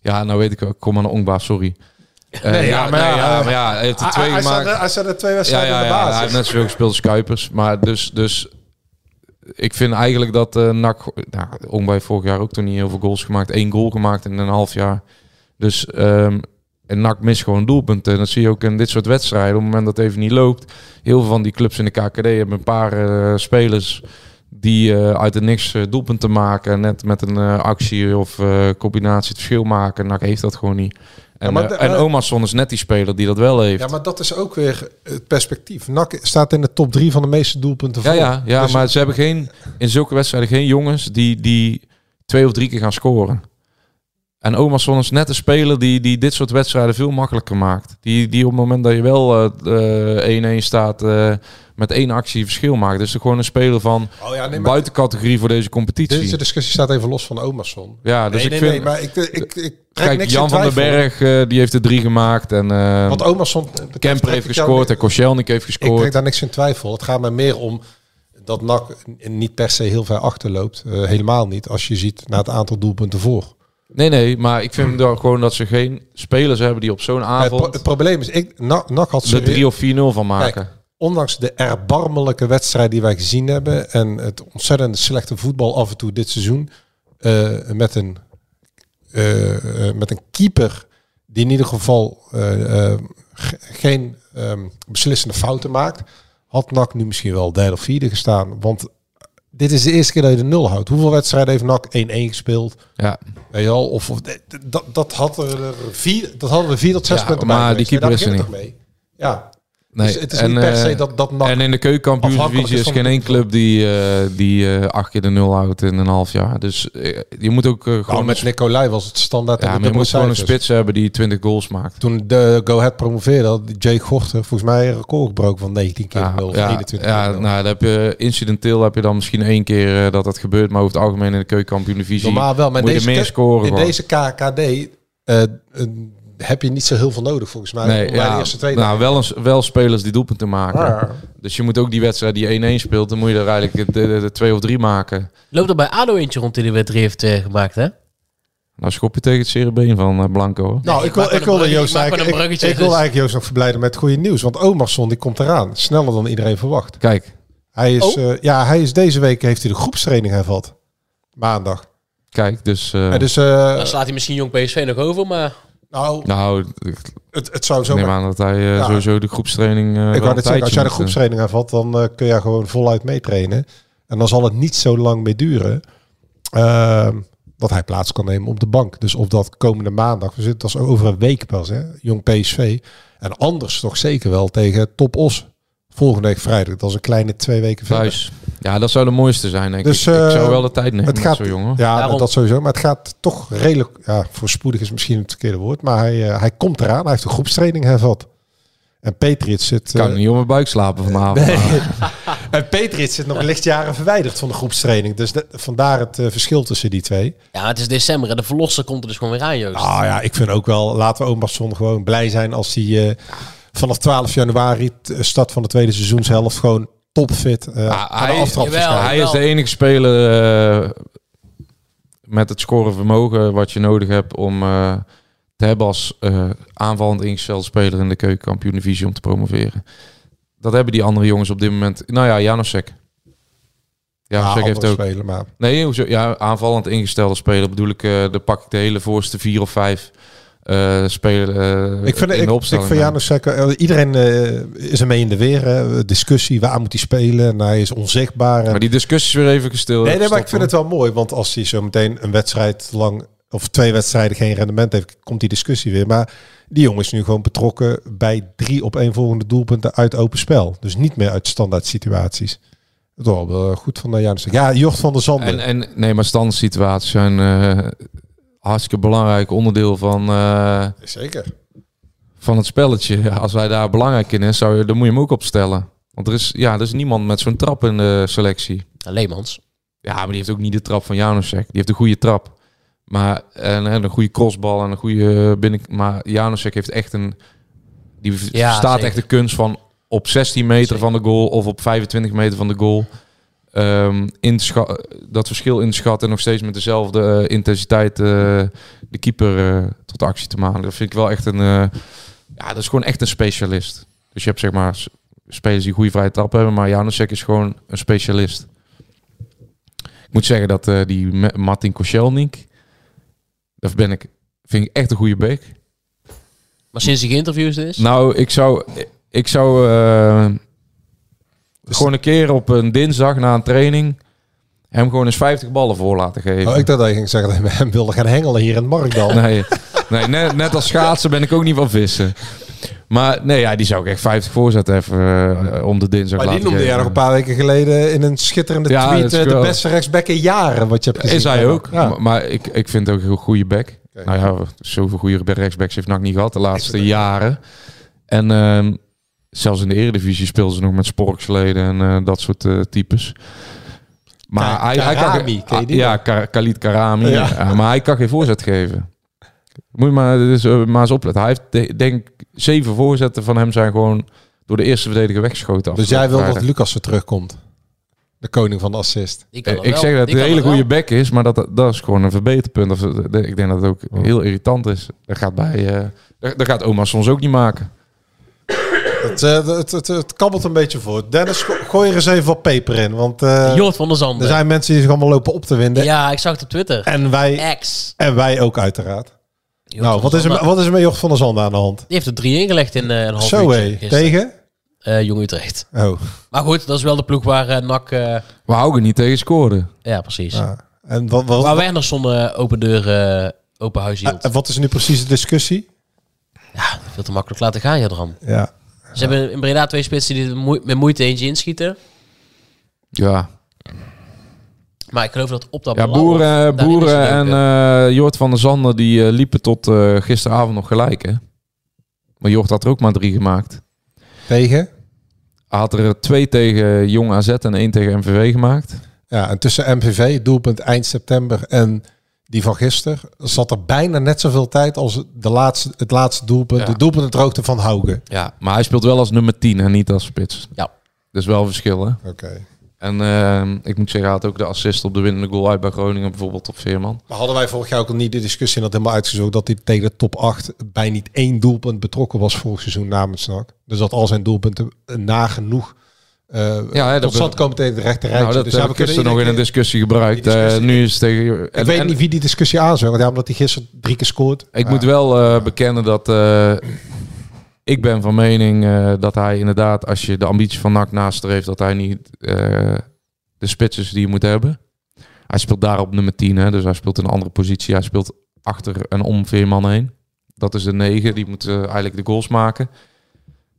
Ja, nou weet ik ook. Kom aan de Ongba, sorry. Eh, Nee, ja, maar ja, maar ja, hij heeft er twee Ah, hij, gemaakt. staat, hij staat er twee ja, wedstrijden ja, in eh, de ja, basis. hij heeft net zoveel gespeeld als Kuipers. Maar dus, dus ik vind eigenlijk dat eh NAC... Nou, Ongba heeft vorig jaar ook toen niet heel veel goals gemaakt. Eén goal gemaakt in een half jaar. Dus ehm en NAC mist gewoon doelpunten. En dat zie je ook in dit soort wedstrijden. Op het moment dat het even niet loopt. Heel veel van die clubs in de KKD hebben een paar eh, spelers... die eh, uit het niks eh, doelpunten maken. Net met een eh, actie of eh, combinatie het verschil maken. NAC heeft dat gewoon niet. En, Ja, eh maar de- en eh, Omarsson is net die speler die dat wel heeft. Ja, maar dat is ook weer het perspectief. NAC staat in de top drie van de meeste doelpunten Ja, voor. ja, ja Dus- maar ze hebben geen, in zulke wedstrijden geen jongens die, die twee of drie keer gaan scoren. En Omerson is net een speler die, die dit soort wedstrijden veel makkelijker maakt. Die, die op het moment dat je wel eh, eh, 1-1 staat, eh, met één actie verschil maakt. Dus gewoon een speler van Oh ja, nee, maar buitencategorie voor deze competitie. deze discussie staat even los van Omerson. ja, dus nee, ik nee, vind... nee, maar ik, ik, ik, ik trek Kijk, niks Jan in van den twijfel. Berg, eh, die heeft er drie gemaakt. En eh, Want Omerson... betreft Kemper trek heeft ik jou gescoord en niet- Koscielnik heeft Ik trek gescoord. daar niks in twijfel. Het gaat mij meer om dat NAC niet per se heel ver achterloopt. Eh, helemaal niet, als je ziet naar het aantal doelpunten voor. Nee, nee, maar ik vind wel gewoon dat ze geen spelers hebben die op zo'n Het, pro- avond het probleem is, ik, NAC, NAC had er ze... 3 of 4-0 van Kijk, maken. ondanks de erbarmelijke wedstrijd die wij gezien hebben... en het ontzettend slechte voetbal af en toe dit seizoen... eh, met, een, eh, eh, met een keeper die in ieder geval eh, eh, ge- geen ehm, beslissende fouten maakt... had NAC nu misschien wel derde of vierde gestaan. Want dit is de eerste keer dat je de nul houdt. Hoeveel wedstrijden heeft NAC 1-1 gespeeld? Ja, Weet je wel, of, of dat, dat, had er vier, dat hadden we vier tot zes Ja, punten maar bij die geweest. keeper Daar is er begint het toch mee. Ja, nee. dus het is niet per eh, se dat, dat NAC... En in de keukenkampioendivisie afhankelijk is is geen van- één club die, eh, die eh, acht keer de nul houdt in een half jaar. Dus eh, je moet ook eh, Nou, gewoon, met Nicolai was het standaard. ja, Ja, maar je moet gewoon een spits hebben die 20 goals maakt. Toen de Go Ahead promoveerde, had Jake Gochter volgens mij een record gebroken van 19 keer Ja, 0 of ja, 21 ja, keer nul. nou, dan heb je, incidenteel heb je dan misschien één keer eh, dat dat gebeurt, maar over het algemeen in de keukenkampioendivisie Normaal wel, maar in moet je deze, meer ke- scoren. in gewoon. deze KKD eh, eh, heb je niet zo heel veel nodig volgens mij. nee, om bij de ja, eerste twee nou, wel, eens, wel spelers die doelpunten maken. Ja. Dus je moet ook die wedstrijd die 1-1 speelt, dan moet je er eigenlijk de, de, de twee of drie maken. Loopt er bij ADO eentje rond die de wedstrijd heeft eh, gemaakt, hè? Nou schop je tegen het cerebeen van eh, Blanco. hoor. Nou, Nee, ik wil, ik maak ik wel wil een bruggetje, Joost ik maak wel eigenlijk, een ik, bruggetje, ik wil dus. eigenlijk Joost nog verblijden met goede nieuws. Want Omarsson die komt eraan. Sneller dan iedereen verwacht. Kijk, Hij is, Oh. eh, ja, hij is deze week heeft hij de groepstraining hervat. Maandag. kijk, dus... eh, Ja, dus, eh, Dan slaat hij misschien jong PSV nog over, maar... nou, nou, het, het zou ik zo neem aan dat hij eh, Ja. sowieso de groepstraining... eh, wel Ik een wou net zeggen, als tijdje jij de moet, eh, groepstraining aanvat, dan eh, kun je gewoon voluit meetrainen. En dan zal het niet zo lang meer duren ehm, dat hij plaats kan nemen op de bank. Dus of dat komende maandag, we zitten als over een week pas, hè, jong PSV. En anders toch zeker wel tegen Top Os volgende week vrijdag. Dat is een kleine twee weken verder. Thuis. eh. Ja, dat zou de mooiste zijn, denk Dus, ik. Ik eh, zou wel de tijd nemen het met gaat- zo'n jongen. Ja, Daarom- dat sowieso. Maar het gaat toch redelijk... Ja, voorspoedig is misschien het verkeerde woord. Maar hij, eh, hij komt eraan. Hij heeft de groepstraining hervat. En Patriot zit... kan eh, niet om mijn buik slapen vanavond. Nee. en Patriots Eh, zit nog lichtjaren verwijderd van de groepstraining. Dus dat- vandaar het eh, verschil tussen die twee. Ja, het is december en de verlosser komt er dus gewoon weer aan, Joost. Nou ja, ik vind ook wel, laten we Omarsson gewoon blij zijn als hij eh, vanaf 12 januari, t- eh, start van de tweede seizoenshelft, gewoon topfit eh Ah, aan de hij- aftrap jawel. verschijnt. Hij is de enige speler eh, met het scorenvermogen wat je nodig hebt om eh, te hebben als eh, aanvallend ingestelde speler in de keukenkampioen-divisie om te promoveren. Dat hebben die andere jongens op dit moment. Nou ja, Janosek. Ja, Janosek heeft andere ook. spelen, maar Nee, hoezo? Ja, aanvallend ingestelde speler bedoel ik. eh dan pak ik de hele voorste vier of vijf eh spelen eh, ik vind, in ik, de ik opstelling. vind Janus Sekker, eh, iedereen eh, is ermee in de weer. Hè. Discussie, waar moet hij spelen? En hij is onzichtbaar. En Maar die discussies weer even gestild. Nee, nee, maar ik vind het wel mooi. Want als hij zo meteen een wedstrijd lang of twee wedstrijden geen rendement heeft, komt die discussie weer. Maar die jongen is nu gewoon betrokken bij drie op één volgende doelpunten uit open spel. Dus niet meer uit standaard situaties. Dat is wel eh, goed van eh, Janus. Ja, Jocht van der Zanden. En, eh, en nee, maar standsituaties zijn eh, hartstikke belangrijk onderdeel van, eh, Zeker. van het spelletje. Ja, Als wij daar belangrijk in is, zou je, dan moet je hem ook opstellen. Want er is, ja, er is niemand met zo'n trap in de selectie. Nou, Leemans. Ja, maar die heeft ook niet de trap van Janusek. Die heeft een goede trap. Maar, en, en een goede crossbal en een goede eh, binnen... Maar Janusek heeft echt een... Die Ja, staat zeker. echt de kunst van op 16 meter Zeker. van de goal of op 25 meter van de goal. ehm, inscha- dat verschil inschatten en nog steeds met dezelfde eh, intensiteit eh, de keeper eh, tot actie te maken. Dat vind ik wel echt een... eh, ja, dat is gewoon echt een specialist. Dus je hebt zeg maar s- spelers die goede vrije trap hebben, maar Janusek is gewoon een specialist. Ik moet zeggen dat eh, die Ma- Martin Koscielnik, daar ben ik, vind ik echt een goede bek. Maar sinds hij geïnterviewd is... Nou, ik zou, ik zou eh, gewoon een keer op een dinsdag na een training hem gewoon eens 50 ballen voor laten geven. Oh, ik dacht dat je ging zeggen dat we hem wilden gaan hengelen hier in het Markdal. Nee, nee net, net als schaatsen ben ik ook niet van vissen. Maar nee, ja, die zou ik echt 50 voorzetten even eh, om de dinsdag maar die laten noemde jij geven. nog een paar weken geleden in een schitterende Ja, tweet dat is eh, de wel- beste rechtsback in jaren, wat je hebt gezien. Is hij ook. Ja. Maar, maar ik, ik vind ook een goede back. Oké. Nou ja, zoveel goede rechtsbacks heeft NAC niet gehad de laatste jaren. En ehm, zelfs in de eredivisie speelden ze nog met sporksleden en eh, dat soort eh, types. Maar Ka- hij, hij Karami, ken je kan, Ah, die ja, Ka- Khalid Karami. Ja. Ja, maar hij kan geen voorzet geven. Moet je maar, dus, eh, maar eens opletten. Hij heeft, de- denk ik, zeven voorzetten van hem zijn gewoon door de eerste verdediger weggeschoten. Dus jij wil afgelopen dat Lucas er terugkomt? De koning van de assist. Ik, kan vrijdag. dat Eh, Ik wel. zeg dat Ik het een kan hele wel. goede back is, maar dat, dat is gewoon een verbeterpunt. Of, eh, ik denk dat het ook Oh. heel irritant is. Dat gaat, bij, eh, dat, dat gaat oma soms ook niet maken. Het, eh, het, het, het kabbelt een beetje voor. Dennis, go- gooi er eens even wat peper in. Want eh, Jort van der er Zanden. zijn mensen die zich allemaal lopen op te winden. Ja, ik zag het op Twitter. En, wij, Ex. en wij ook uiteraard. Jort Nou, van wat is, der er, Zanden. met- wat is er met Jocht van der Zanden aan de hand? Die heeft er drie ingelegd in eh, een half Zo uurtje hé. gisteren. Tegen? Eh, Jong Utrecht. Oh. Maar goed, dat is wel de ploeg waar eh, NAC... eh, We houden niet tegen scoren. ja, precies. Ja. En wat, wat, Waar Wernerson eh, open deur, eh, open huis hield. en wat is nu precies de discussie? ja, veel te makkelijk laten gaan, Jadram. Ja. Ze hebben in Breda twee spitsen die er moe- met moeite eentje inschieten. Ja, Maar ik geloof dat op dat ja blauwe boeren, daarin is boeren het ook, en eh, eh, Jort van der Zanden die eh, liepen tot eh, gisteravond nog gelijk. Hè? Maar Jort had er ook maar drie gemaakt. Tegen? Hij had er eh, twee tegen Jong AZ en één tegen MVV gemaakt. Ja, en tussen MVV, doelpunt eind september en die van gisteren, zat er bijna net zoveel tijd als de laatste, het laatste doelpunt, Ja. de doelpunt droogte van Haugen. eh, Ja, maar hij speelt wel als nummer 10 en niet als spits. Ja. Dus wel verschil, hè? Oké. En ehm, ik moet zeggen, hij had ook de assist op de winnende goal uit bij Groningen, bijvoorbeeld op Veerman. Maar hadden wij vorig jaar ook al niet de discussie en dat helemaal uitgezocht dat hij tegen de top 8 bij niet één doelpunt betrokken was vorig seizoen namens NAC. Dus dat al zijn doelpunten eh, nagenoeg eh Ja, hè, tot dat stand komen tegen de rechter rijtje. Nou, dat dus heb ja, we ik kunnen gisteren nog in een iedere discussie gebruikt. Die discussie- Eh, nu is het tegen... keer- Ik weet niet wie die discussie aanzwengt, ja, omdat hij gisteren drie keer scoort. Ik moet wel eh, bekennen dat eh, ik ben van mening eh, dat hij inderdaad, als je de ambitie van NAC nastreeft, dat hij niet eh, de spits is die je moet hebben. Hij speelt daar op nummer 10, hè, dus hij speelt in een andere positie. Hij speelt achter en om Veerman heen. Dat is de 9, die moet eh, eigenlijk de goals maken.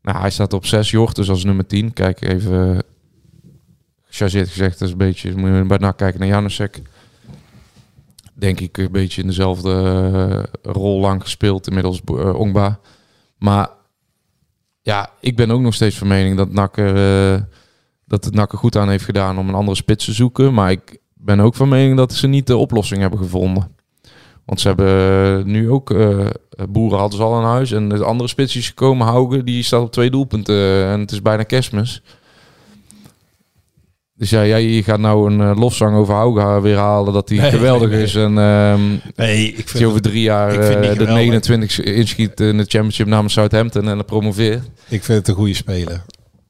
Nou, hij staat op 6, Jort, dus als nummer 10. Kijk even, eh, gechargeerd gezegd, dat is een beetje, moet je bij NAC kijken naar Janusek denk ik een beetje in dezelfde eh, rol lang gespeeld inmiddels eh, Ongba. Maar ja, ik ben ook nog steeds van mening dat NAC er, eh, dat het NAC er goed aan heeft gedaan om een andere spits te zoeken, maar ik ben ook van mening dat ze niet de oplossing hebben gevonden. Want ze hebben eh, nu ook eh, boeren hadden ze al in huis en de andere spits die is gekomen Haugen die staat op twee doelpunten eh, en het is bijna Kerstmis. Dus ja, jij gaat nou een eh, lofzang over Hauga weer halen dat hij Nee, geweldig nee, nee. is en ehm, Nee, ik dat je over drie jaar ik vind die eh, de geweldig. 29 inschiet in de championship namens Southampton en dan promoveert. Ik vind het een goede speler.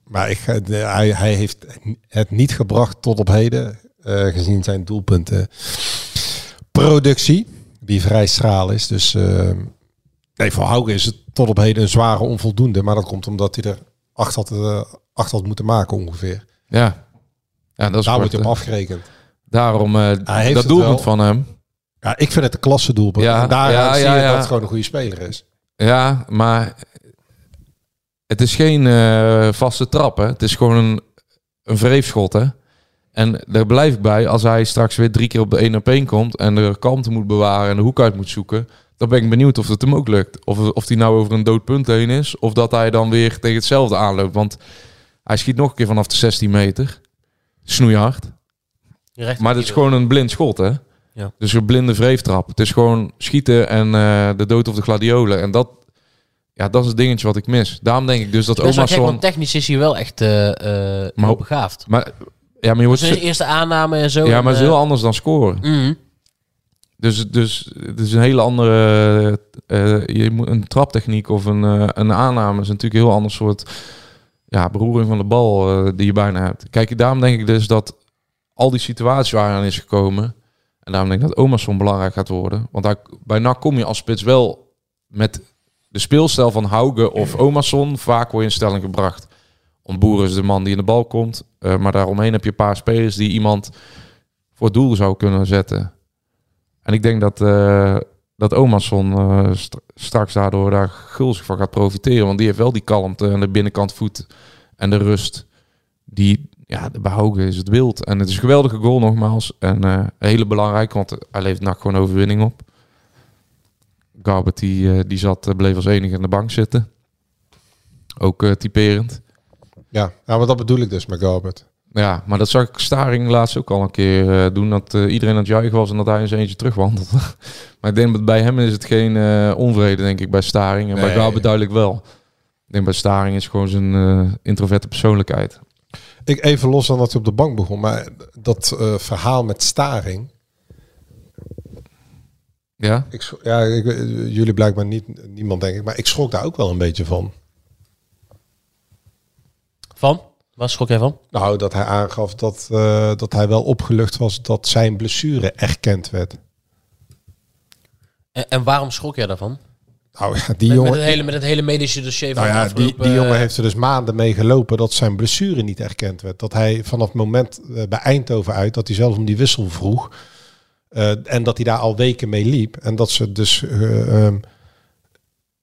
Maar ik, ga- de- hij, hij heeft het niet gebracht tot op heden, eh, gezien zijn doelpunten. Productie, die vrij straal is. Dus eh, nee, voor Haugen is het tot op heden een zware onvoldoende. Maar dat komt omdat hij er acht had, eh, acht had moeten maken ongeveer. Ja. ja, dat is Daar wordt kort, hij op eh, afgerekend. Daarom Hij heeft eh het dat doelpunt wel. van hem. Ja, ik vind het een klasse doelpunt. Ja, en daaruit ja, zie ja, je ja. dat het gewoon een goede speler is. Ja, maar het is geen eh, vaste trap. Hè. Het is gewoon een, een wreefschot. Hè. En daar blijf ik bij. Als hij straks weer drie keer op de 1 op 1 komt en de kalmte moet bewaren en de hoek uit moet zoeken. Dan ben ik benieuwd of het hem ook lukt. Of, of hij nou over een dood punt heen is. Of dat hij dan weer tegen hetzelfde aanloopt. Want hij schiet nog een keer vanaf de 16 meter. Snoeihard. recht op Maar het is ieder. gewoon een blind schot, hè? Ja. Dus een blinde wreeftrap. Het is gewoon schieten en eh, de dood of de gladiolen. En dat, ja, dat is het dingetje wat ik mis. Daarom denk ik dus dat Het is best wel gek, Omarsson... want technisch is hij wel echt eh eh Maar heel hoe- begaafd. Maar, ja, maar je wordt... Zijn eerste aanname en zo. Ja, en, maar het is eh, heel anders dan scoren. mm. Dus, dus het is een hele andere... eh, je moet een traptechniek of een, eh, een aanname is natuurlijk een heel ander soort ja, beroering van de bal eh, die je bijna hebt. Kijk, daarom denk ik dus dat al die situaties waar hij aan is gekomen... En daarom denk ik dat Omerson belangrijk gaat worden. Want daar, bij NAC kom je als spits wel met de speelstijl van Hauge of Omerson vaak word je in stelling gebracht. Want Boer is de man die in de bal komt. eh, maar daaromheen heb je een paar spelers die iemand voor het doel zou kunnen zetten. En ik denk dat, eh dat Omerson eh, st- straks daardoor daar gulzig van gaat profiteren. Want die heeft wel die kalmte en de binnenkant voet en de rust. Die, ja, bij Hauge is het wild. En het is een geweldige goal nogmaals. En eh, een hele belangrijke, want hij levert NAC gewoon overwinning op. Garbert die, eh, die zat, eh, bleef als enige aan de bank zitten. Ook eh, typerend. Ja, nou, maar dat bedoel ik dus met Garbert. Ja, maar dat zag ik Staring laatst ook al een keer eh, doen. Dat eh, iedereen aan het juichen was en dat hij eens eentje terugwandelde. maar ik denk dat bij hem is het geen eh, onvrede, denk ik, bij Staring. En bij Nee. Garbert duidelijk wel. Ik denk bij Staring is gewoon zijn eh, introverte persoonlijkheid. Ik even los dan dat hij op de bank begon, maar dat eh, verhaal met Staring. Ja? Ik, schro- ja, ik, eh, jullie blijkbaar niet, niemand denk ik, maar ik schrok daar ook wel een beetje van. Van? Waar schrok jij van? Nou, dat hij aangaf dat, eh, dat hij wel opgelucht was dat zijn blessure erkend werd. En, en waarom schrok jij daarvan? Nou ja, die Met, jongen, met, het, hele, met het hele medische dossier van nou ja, de die, afgelopen, die eh, jongen heeft er dus maanden mee gelopen dat zijn blessure niet erkend werd. Dat hij vanaf het moment eh, bij Eindhoven uit, dat hij zelfs om die wissel vroeg. eh, en dat hij daar al weken mee liep. En dat ze dus eh, ehm,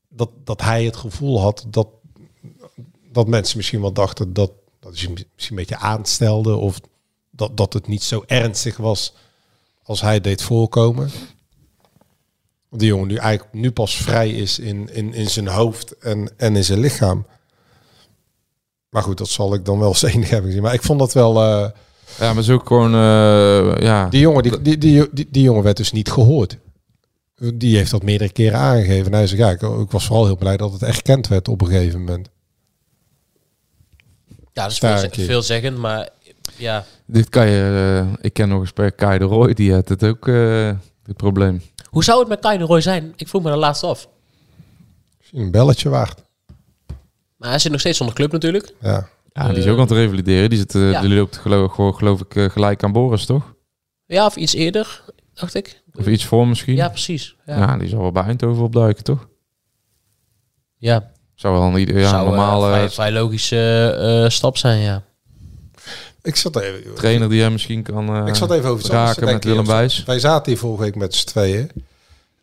dat, dat hij het gevoel had dat, dat mensen misschien wel dachten dat, dat hij zich misschien een beetje aanstelde. Of dat, dat het niet zo ernstig was als hij deed voorkomen. Die jongen nu eigenlijk nu pas vrij is in, in, in zijn hoofd en, en in zijn lichaam. Maar goed, dat zal ik dan wel als enige hebben gezien. Maar ik vond dat wel... eh, Ja, maar het is ook gewoon... eh, ja. die jongen, die, die, die, die, die jongen werd dus niet gehoord. Die heeft dat meerdere keren aangegeven. En hij zei, ja, ik, ik was vooral heel blij dat het erkend werd op een gegeven moment. Ja, dat is Staartje. veel, veelzeggend, maar ja. Dit kan je... eh, ik ken nog eens per Kai de Roy, die had het ook, eh dit probleem. Hoe zou het met Kai de Roy zijn? Ik vroeg me de laatst af. Misschien een belletje waard. Maar hij zit nog steeds zonder club natuurlijk. Ja. Ja, die is ook aan het revalideren. Die, zit, eh ja. die loopt geloof, gewoon, geloof ik eh, gelijk aan Boris, toch? Ja, of iets eerder, dacht ik. Of iets voor misschien. Ja, precies. Ja, ja. die zal wel bij Eindhoven opduiken, toch? ja. Zou wel een ieder ja, zou eh, normale vrij, vrij logische eh, eh, stap zijn, ja. Ik zat even, trainer die hem misschien kan eh ik zat even over iets anders te raken met denken, Willem joh. Wijs. Wij zaten hier vorige week met z'n tweeën.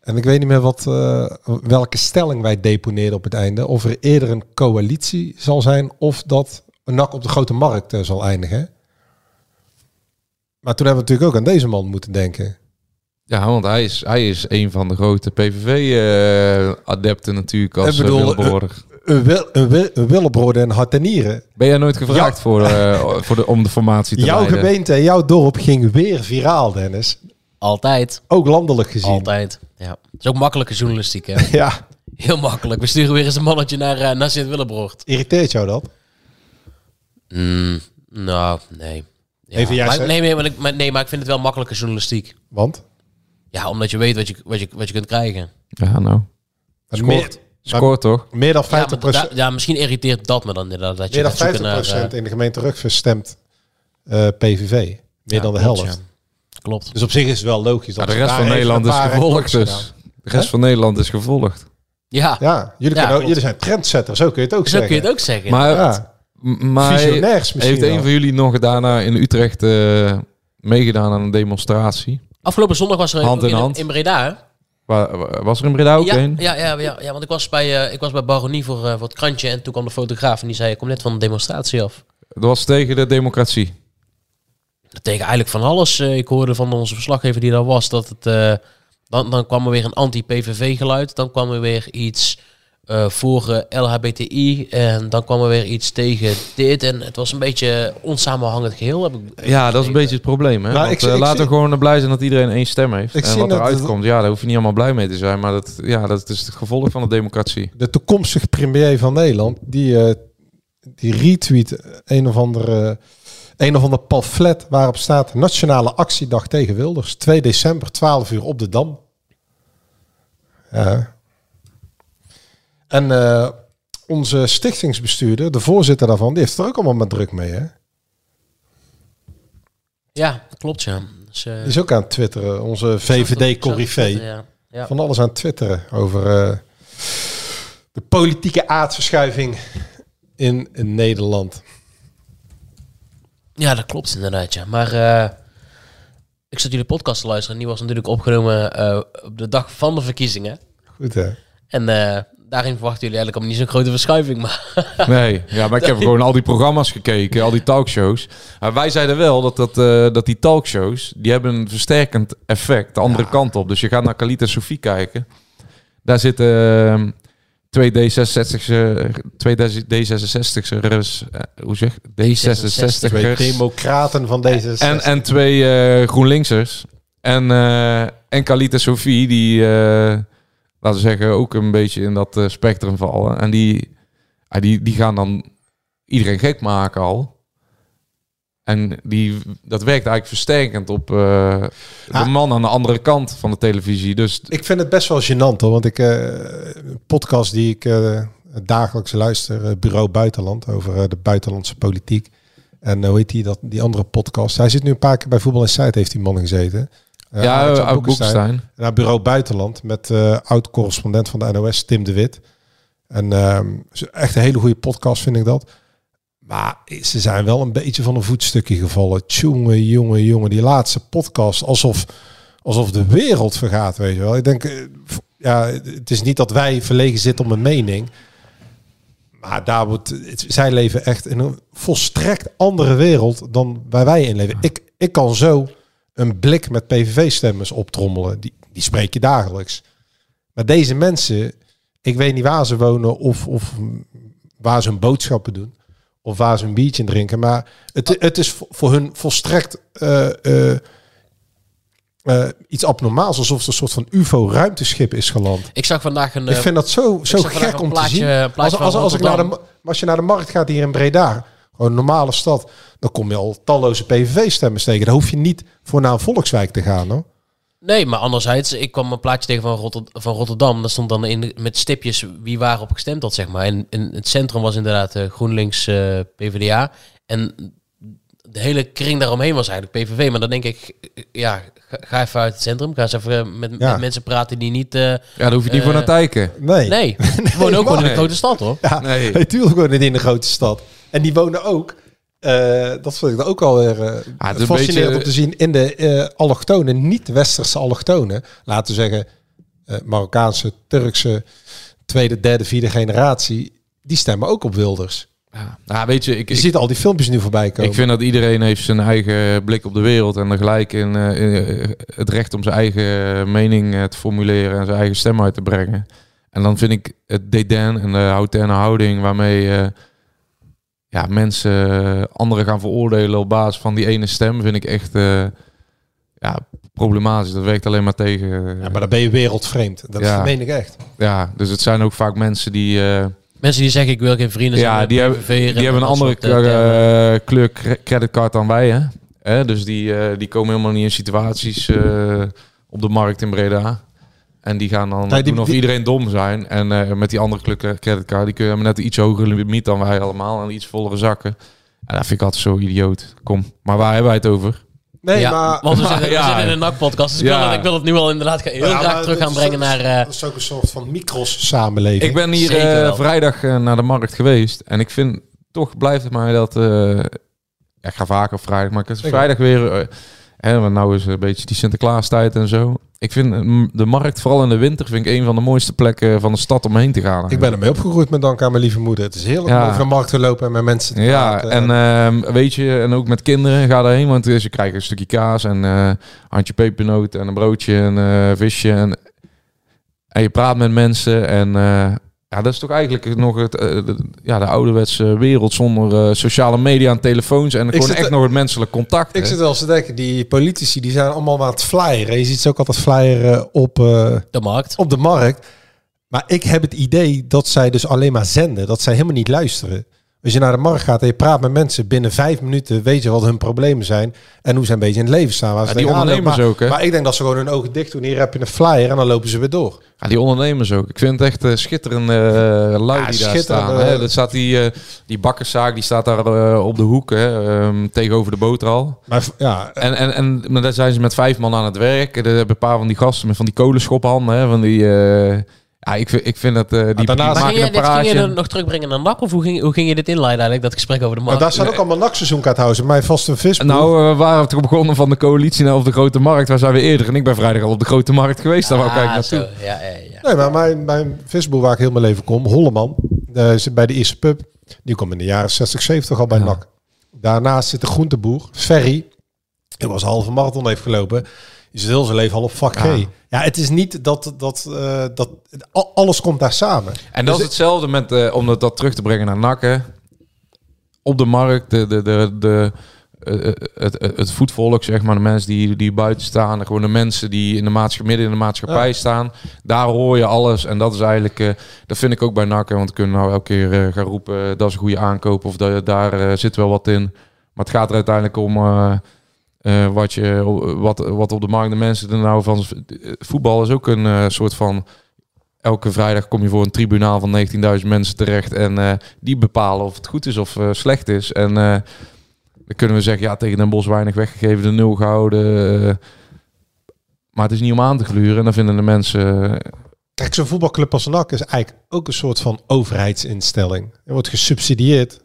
En ik weet niet meer wat, eh, welke stelling wij deponeerden op het einde. Of er eerder een coalitie zal zijn of dat een nak op de grote markt eh, zal eindigen. Maar toen hebben we natuurlijk ook aan deze man moeten denken. Ja, want hij is, hij is een van de grote PVV-adepten eh, natuurlijk als Ik eh, bedoel, Willebroeder. Een, wil, een, wil- een willebroorden en hartenieren. Ben jij nooit gevraagd voor, eh, voor de, om de formatie te Jouw leiden? gemeente en jouw dorp ging weer viraal, Dennis. Altijd. Ook landelijk gezien. Altijd. Ja. Het is ook makkelijke journalistiek, hè. Ja, Heel makkelijk. We sturen weer eens een mannetje naar, eh, naar Sint-Willebroord. irriteert jou dat? Mm, nou, nee. Ja. Even juist, maar, hè? nee, nee, maar, ik- maar- nee, maar ik vind het wel makkelijke journalistiek. Want? Ja, omdat je weet wat je, wat je, wat je kunt krijgen. Ja, nou. Meer, Scoort toch? meer dan 50%, Ja, maar da- ja, misschien irriteert dat me dan inderdaad. Dat je meer dan gaat zoeken 50 naar, eh, in de gemeente Rugven stemt eh, PVV. Meer ja, dan de klopt, helft. ja. Klopt. Dus op zich is het wel logisch. Ja, Dat de ze rest daar van even Nederland een is paar gevolgd hacks dus. gedaan. De rest Hè? van Nederland is gevolgd. Ja, Ja, jullie, Ja, kunnen ook, klopt. jullie zijn trendsetters ook, kun je het ook zo kun zeggen. je het ook zeggen. Maar, Ja, m- maar visionairs misschien heeft een wel. van jullie nog daarna in Utrecht eh, meegedaan aan een demonstratie? Afgelopen zondag was er Hand ook in hand. in Breda. hè? Wa- wa- Was er in Breda ook Ja, een? ja, ja, ja, ja, want ik was bij, eh, ik was bij Baronie voor, eh, voor het krantje en toen kwam de fotograaf en die zei, ik kom net van een demonstratie af. Dat was tegen de democratie. Dat tegen eigenlijk van alles. Eh, ik hoorde van onze verslaggever die daar was dat het. eh, dan, dan kwam er weer een anti-PVV geluid. Dan kwam er weer iets eh, voor eh, LHBTI. En dan kwam er weer iets tegen dit. En het was een beetje onsamenhangend geheel. Heb ik, Ja, dat is een beetje het probleem. Hè? Nou, Want, ik zie- eh, ik laten we zie- gewoon blij zijn dat iedereen één stem heeft. Ik en zie wat net eruit dat- komt, ja, daar hoef je niet allemaal blij mee te zijn. Maar dat, ja, dat is het gevolg van de democratie. De toekomstige premier van Nederland, die, eh, die retweet een of andere... Een of ander pamflet waarop staat Nationale Actiedag tegen Wilders. 2 december, 12 uur op de Dam. Ja. En eh, onze stichtingsbestuurder, de voorzitter daarvan, die heeft er ook allemaal maar druk mee. Hè? ja, klopt ja. Dus, eh, Die is ook aan het twitteren, onze Ja, VVD-corrivee. ja. Ja. Van alles aan het twitteren over eh, de politieke aardverschuiving in, in Nederland. Ja, dat klopt inderdaad. Ja. Maar eh, ik zat jullie podcast te luisteren. En die was natuurlijk opgenomen eh, op de dag van de verkiezingen. Goed hè? En eh, daarin verwachten jullie eigenlijk allemaal niet zo'n grote verschuiving. Maar Nee, ja, maar ik heb gewoon al die programma's gekeken, al die talkshows. Maar wij zeiden wel dat, dat, eh, dat die talkshows, die hebben een versterkend effect de andere kant op. Dus je gaat naar Kalita Sophie kijken. Daar zitten ehm, twee D66's, eh, twee D66'ers, eh, hoe zeg D66'ers. Twee democraten van deze En, en twee eh, GroenLinksers. En, eh en Kalita Sophie, die, eh, laten we zeggen, ook een beetje in dat eh, spectrum vallen. En die, ah, die, die gaan dan iedereen gek maken al. En die, dat werkt eigenlijk versterkend op eh, Ah. de man aan de andere kant van de televisie. Dus Ik vind het best wel gênant hoor, want ik eh, een podcast die ik eh, dagelijks luister, eh, Bureau Buitenland, over eh, de buitenlandse politiek. En eh, hoe heet die, dat, die andere podcast? Hij zit nu een paar keer bij Voetbal Insight, heeft die man gezeten. Eh, ja, Alexander uit Boekestein. naar Bureau Buitenland met eh oud-correspondent van de NOS, Tim de Wit. En ehm, is echt een hele goede podcast vind ik dat. Maar ze zijn wel een beetje van een voetstukje gevallen. Tjonge, jonge, jonge. Die laatste podcast, alsof, alsof de wereld vergaat, weet je wel. Ik denk, eh, v- ja, het is niet dat wij verlegen zitten om een mening. Maar daar wordt, het- zij leven echt in een volstrekt andere wereld dan waar wij in leven. Ik, ik kan zo een blik met PVV-stemmers optrommelen. Die, die spreek je dagelijks. Maar deze mensen, ik weet niet waar ze wonen of, of waar ze hun boodschappen doen. Of waar ze een biertje drinken. Maar het, het is voor- voor hun volstrekt eh, eh, eh, iets abnormaals. Alsof het een soort van UFO-ruimteschip is geland. Ik zag vandaag een... Ik eh, vind dat zo, zo zag vandaag gek een om plaatje- te zien. plaatje als, van als, als, ik naar de, Rotterdam. ma- als je naar de markt gaat hier in Breda, gewoon een normale stad, dan kom je al talloze PVV-stemmen tegen. Daar hoef je niet voor naar een volkswijk te gaan. Hoor. Nee, maar anderzijds, ik kwam een plaatje tegen van, Rotter- van Rotterdam. Daar stond dan in, de- met stipjes wie waarop gestemd had, zeg maar. En in het centrum was inderdaad eh, GroenLinks eh, PvdA. En de hele kring daaromheen was eigenlijk PVV. Maar dan denk ik, eh, ja, ga, ga even uit het centrum. Ga eens even eh, met, Ja. met mensen praten die niet... eh, Ja, daar hoef je niet voor Eh, naar te kijken. Nee. nee, die wonen ook gewoon in een maar- grote stad, hoor. Ja, Nee. nee. Tuurlijk wonen die in een grote stad. En die wonen ook. eh, dat vind ik dan ook alweer eh Ah, het is een fascinerend beetje- om te zien in de eh allochtonen, niet-westerse allochtonen. Laten we zeggen eh, Marokkaanse, Turkse, tweede, derde, vierde generatie. Die stemmen ook op Wilders. Ja, Nou, weet je, ik, Je ik, ziet al die filmpjes nu voorbij komen. Ik vind dat iedereen heeft zijn eigen blik op de wereld en er gelijk in, eh, in, eh, het recht om zijn eigen mening eh, te formuleren en zijn eigen stem uit te brengen. En dan vind ik het dédain en de hautaine houding waarmee eh, ja, mensen eh, anderen gaan veroordelen op basis van die ene stem, vind ik echt eh, ja, problematisch. Dat werkt alleen maar tegen. eh, Ja, maar dan ben je wereldvreemd. Dat Ja. meen ik echt. ja, dus het zijn ook vaak mensen die... eh, Mensen die zeggen, ik wil geen vrienden zijn ja, met die hebben, PVV'er en die hebben een dat andere soort, eh, termen. eh, kleur cre- creditcard dan wij, hè? Hè, dus die, eh, die komen helemaal niet in situaties eh, op de markt in Breda. En die gaan dan Nee, Nou, die- doen of die- iedereen dom zijn. En eh, met die andere kleur cre- creditcard, die kun je hebben net een iets hogere limiet dan wij allemaal. En iets vollere zakken. En dat vind ik altijd zo idioot. Kom, maar waar hebben wij het over? Nee, Ja, maar... want we maar- zitten, we ja. zitten in een NAC-podcast, dus ik, Ja. wil, ik wil het nu al inderdaad ga- heel Ja, graag maar terug dat gaan is ook- brengen naar... eh, dat is ook een soort van micros-samenleving. Ik ben hier Zeker eh, wel. vrijdag eh, naar de markt geweest. En ik vind, toch blijft het mij dat... eh, ja, ik ga vaker op vrijdag, maar ik heb Zeker. vrijdag weer... eh hè, want nou is een beetje die Sinterklaastijd en zo. Ik vind eh, m- de markt, vooral in de winter, vind ik een van de mooiste plekken van de stad om heen te gaan. Ik ben ermee opgegroeid met dank aan mijn lieve moeder. Het is heerlijk Ja. om over de markt te lopen en met mensen te Ja, praten. en ehm, weet je, en ook met kinderen, ga daarheen. Want eh, ze krijgen een stukje kaas en eh handje pepernoot en een broodje en eh, visje. En, en je praat met mensen en eh, ja, dat is toch eigenlijk nog het, eh, de, ja, de ouderwetse wereld zonder eh, sociale media en telefoons. En gewoon zit echt er- nog het menselijk contact. Ik hè. zit wel eens te denken, die politici die zijn allemaal aan het flyeren. Je ziet ze ook altijd flyeren op, eh, de markt. op de markt. Maar ik heb het idee dat zij dus alleen maar zenden. Dat zij helemaal niet luisteren. Als je naar de markt gaat en je praat met mensen, binnen vijf minuten weet je wat hun problemen zijn. En hoe ze een beetje in het leven staan. Waar ze Ja, die tegenaan lopen. ondernemers maar, ook, hè? Maar ik denk dat ze gewoon hun ogen dicht doen. Hier heb je een flyer en dan lopen ze weer door. Ja, die ondernemers ook. Ik vind het echt eh, schitterende eh lui Ja, die daar schitterende- staan. Hè? Dat staat die, eh, die bakkerszaak, die staat daar eh, op de hoek hè, ehm, tegenover de boterhal. Maar v- ja, En, en, en maar daar zijn ze met vijf man aan het werk. Er hebben een paar van die gasten met van die kolenschophanden. Hè, van die, eh, ja, ik, vind- ik vind dat... eh, die, die daarnaast- maken Maar ging een je, dit ging je praatje. dan nog terugbrengen naar NAC? Of hoe ging, hoe ging je dit inleiden eigenlijk, dat gesprek over de maar markt? daar staan ook allemaal nachtseizoenkaarthuizen. Mijn vaste vis. Nou, eh, we waren toch begonnen van de coalitie naar op de Grote Markt. Waar zijn we eerder? En ik ben vrijdag al op de Grote Markt geweest. Daar wou ik Ah, eigenlijk naartoe. zo. Ja, ja, ja. Nee, maar mijn, mijn visboer waar ik heel mijn leven kom, Holleman, eh, zit bij de eerste pub. Die kwam in de jaren 60, 70 al bij Ja. NAC. Daarnaast zit de groenteboer, Ferry. Die was halve marathon heeft gelopen. Die Die zit heel zijn leven al op vak Ja. G. Ja, het is niet dat, dat, eh, dat al- alles komt daar samen. En dat is hetzelfde met, eh, om dat, dat terug te brengen naar nakken. Op de markt, de, de, de, de, eh, eh, het, het, het voetvolk, zeg maar, de mensen die, die buiten staan, gewoon de mensen die in de maatschappij, midden in de maatschappij staan, daar hoor je alles. En dat is eigenlijk, eh, dat vind ik ook bij nakken, want we kunnen nou elke keer eh, gaan roepen, eh, dat is een goede aankoop of da- daar eh, zit wel wat in. Maar het gaat er uiteindelijk om eh, eh, wat, je, wat, wat op de markt de mensen er nou van... Voetbal is ook een eh, soort van elke vrijdag kom je voor een tribunaal van 19.000 mensen terecht. En eh, die bepalen of het goed is of eh, slecht is. En eh, dan kunnen we zeggen, ja, tegen Den Bos weinig weggegeven, de nul gehouden. eh. maar het is niet om aan te gluren. En dan vinden de mensen... eh, Kijk, zo'n voetbalclub als NAC is eigenlijk ook een soort van overheidsinstelling. Er wordt gesubsidieerd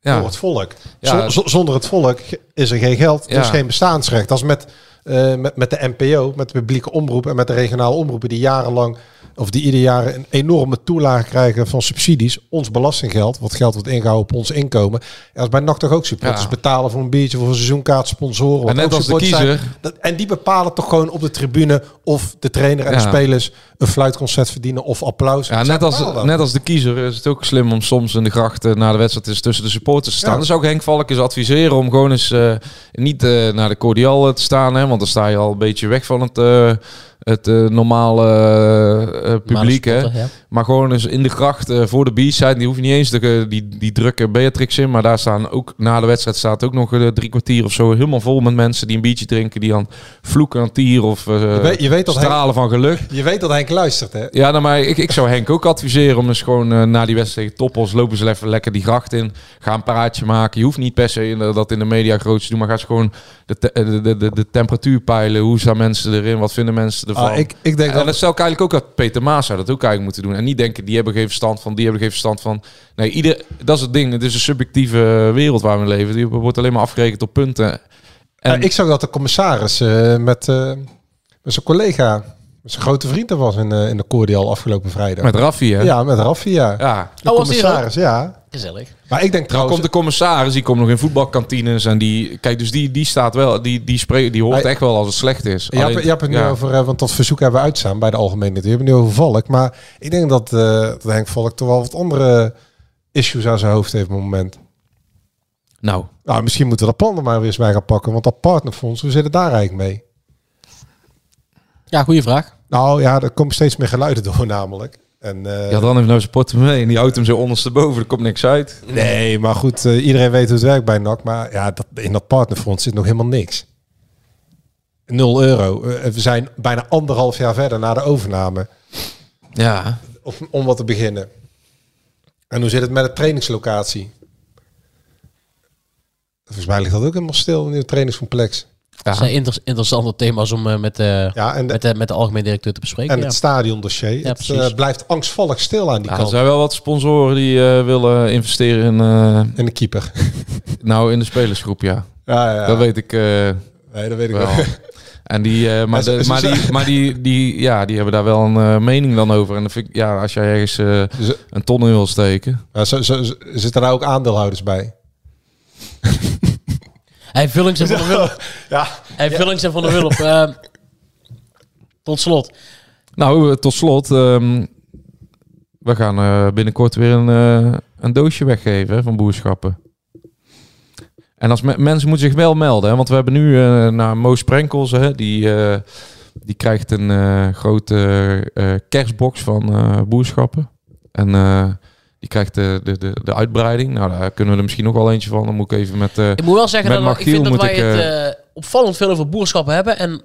ja, door het volk. Ja. Z- z- zonder het volk is er geen geld, Ja. dus geen bestaansrecht. Dat is met, eh, met, met de NPO, met de publieke omroep en met de regionale omroepen die jarenlang of die ieder jaar een enorme toelage krijgen van subsidies. Ons belastinggeld, wat geld wordt ingehouden op ons inkomen. En dat is bij NAC toch ook supporters Ja. betalen voor een biertje, voor een seizoenkaart, sponsoren. wat net ook als de supporters zijn. kiezer. Dat- en die bepalen toch gewoon op de tribune of de trainer en de Ja. spelers een fluitconcert verdienen of applaus. ja, Zij net, bepalen als, dat. net als de kiezer is het ook slim om soms in de grachten na de wedstrijd eens tussen de supporters te staan. Ja. Dus ook Henk Valk is adviseren om gewoon eens eh, niet eh, naar de cordial eh, te staan. Hè, want dan sta je al een beetje weg van het, eh, het eh, normale eh, eh, publiek. Hè. spotter, ja. Maar gewoon eens in de gracht eh, voor de B-side. Die hoef je niet eens de, eh, die, die drukke Beatrix in. Maar daar staan ook na de wedstrijd staat ook nog eh, drie kwartier of zo helemaal vol met mensen die een biertje drinken. Die aan vloeken aan tier of eh, weet- je weet dat stralen van geluk. Je weet dat Henk luistert, hè? Ja, nou, maar ik, ik zou Henk ook adviseren om eens gewoon eh, na die wedstrijd tegen Toppos... lopen ze even lekker die gracht in, ga een paraatje maken. Je hoeft niet per se in de- dat in de media groot te doen... maar ga eens gewoon de, te- eh, de, de, de, de temperatuur peilen. Hoe staan mensen erin? Wat vinden mensen ervan? Ah, ik, ik denk en dat... dat stel ik eigenlijk ook dat Peter Maas zou dat ook eigenlijk moeten doen. En niet denken, die hebben geen verstand van, die hebben geen verstand van. Nee, ieder, dat is het ding. Het is een subjectieve wereld waar we leven. Die wordt alleen maar afgerekend op punten. En Ja, ik zag dat de commissaris eh, met, eh, met zijn collega, met zijn grote vriend, er was in, eh, in de Cordial afgelopen vrijdag. met Raffi, hè? ja, met Raffia. Ja. ja. De Oh, was die er commissaris, ja. Gezellig. Maar ik denk Dan trouwens, komt de commissaris, die komt nog in voetbalkantines en die... Kijk, dus die, die staat wel, die, die, spreekt, die hoort Hij- echt wel als het slecht is. je hebt, je hebt het nu ja. over, eh, want dat verzoek hebben we uitstaan bij de algemene. We hebben het nu over Valk, maar ik denk dat, eh, dat Henk Valk toch wel wat andere issues aan zijn hoofd heeft op het moment. Nou, Nou, misschien moeten we dat plan er maar weer eens bij gaan pakken, want dat partnerfonds, hoe zit het daar eigenlijk mee? Ja, goede vraag. Nou ja, er komen steeds meer geluiden door namelijk. En, eh, ja, dan heeft nou zijn portemonnee en die houdt hem zo ondersteboven. Er komt niks uit. Nee, maar goed, eh, iedereen weet hoe het werkt bij NAC. Maar ja, dat, in dat partnerfonds zit nog helemaal niks. Nul euro. Eh, we zijn bijna anderhalf jaar verder na de overname. Ja. Of, om wat te beginnen. En hoe zit het met de trainingslocatie? Volgens mij ligt dat ook helemaal stil in het trainingscomplex. Ja. Dat zijn inter- interessante thema's om eh, met, eh Ja, en, de, met, de, met de algemeen directeur te bespreken. en ja. het stadiondossier. het eh, precies. blijft angstvallig stil aan die Ja, er kant. zijn wel wat sponsoren die eh, willen investeren in, eh, En de keeper. nou, in de spelersgroep, ja. Ja, ja. Dat weet ik eh, nee, dat weet ik wel. wel. En die, eh, maar, Ja, ze- de- ze maar, die, zijn- maar die, die, ja, die hebben daar wel een eh, mening dan over. En dan vind ik, ja, als jij ergens eh, Ze- een ton in wil steken. Maar Dus, eh, zo, zo, zo- zitten daar ook aandeelhouders bij? Hij Vullings en Van der Wulp. Ja, Hij Vullings en Van der Wulp. eh, tot slot. Nou, eh, tot slot. ehm, we gaan eh, binnenkort weer een, eh, een doosje weggeven hè, van boerschappen. En als me- mensen moeten zich wel melden. Hè, want we hebben nu eh naar Mo Sprenkels. Hè, die, eh, die krijgt een eh, grote eh, kerstbox van eh, boerschappen. En eh, die krijgt de, de, de, de uitbreiding. Nou, daar kunnen we er misschien nog wel eentje van. Dan moet ik even met... eh, Ik moet wel zeggen Met dat ik Margiel vind dat moet wij ik, het eh, opvallend veel over boerschappen hebben. En dat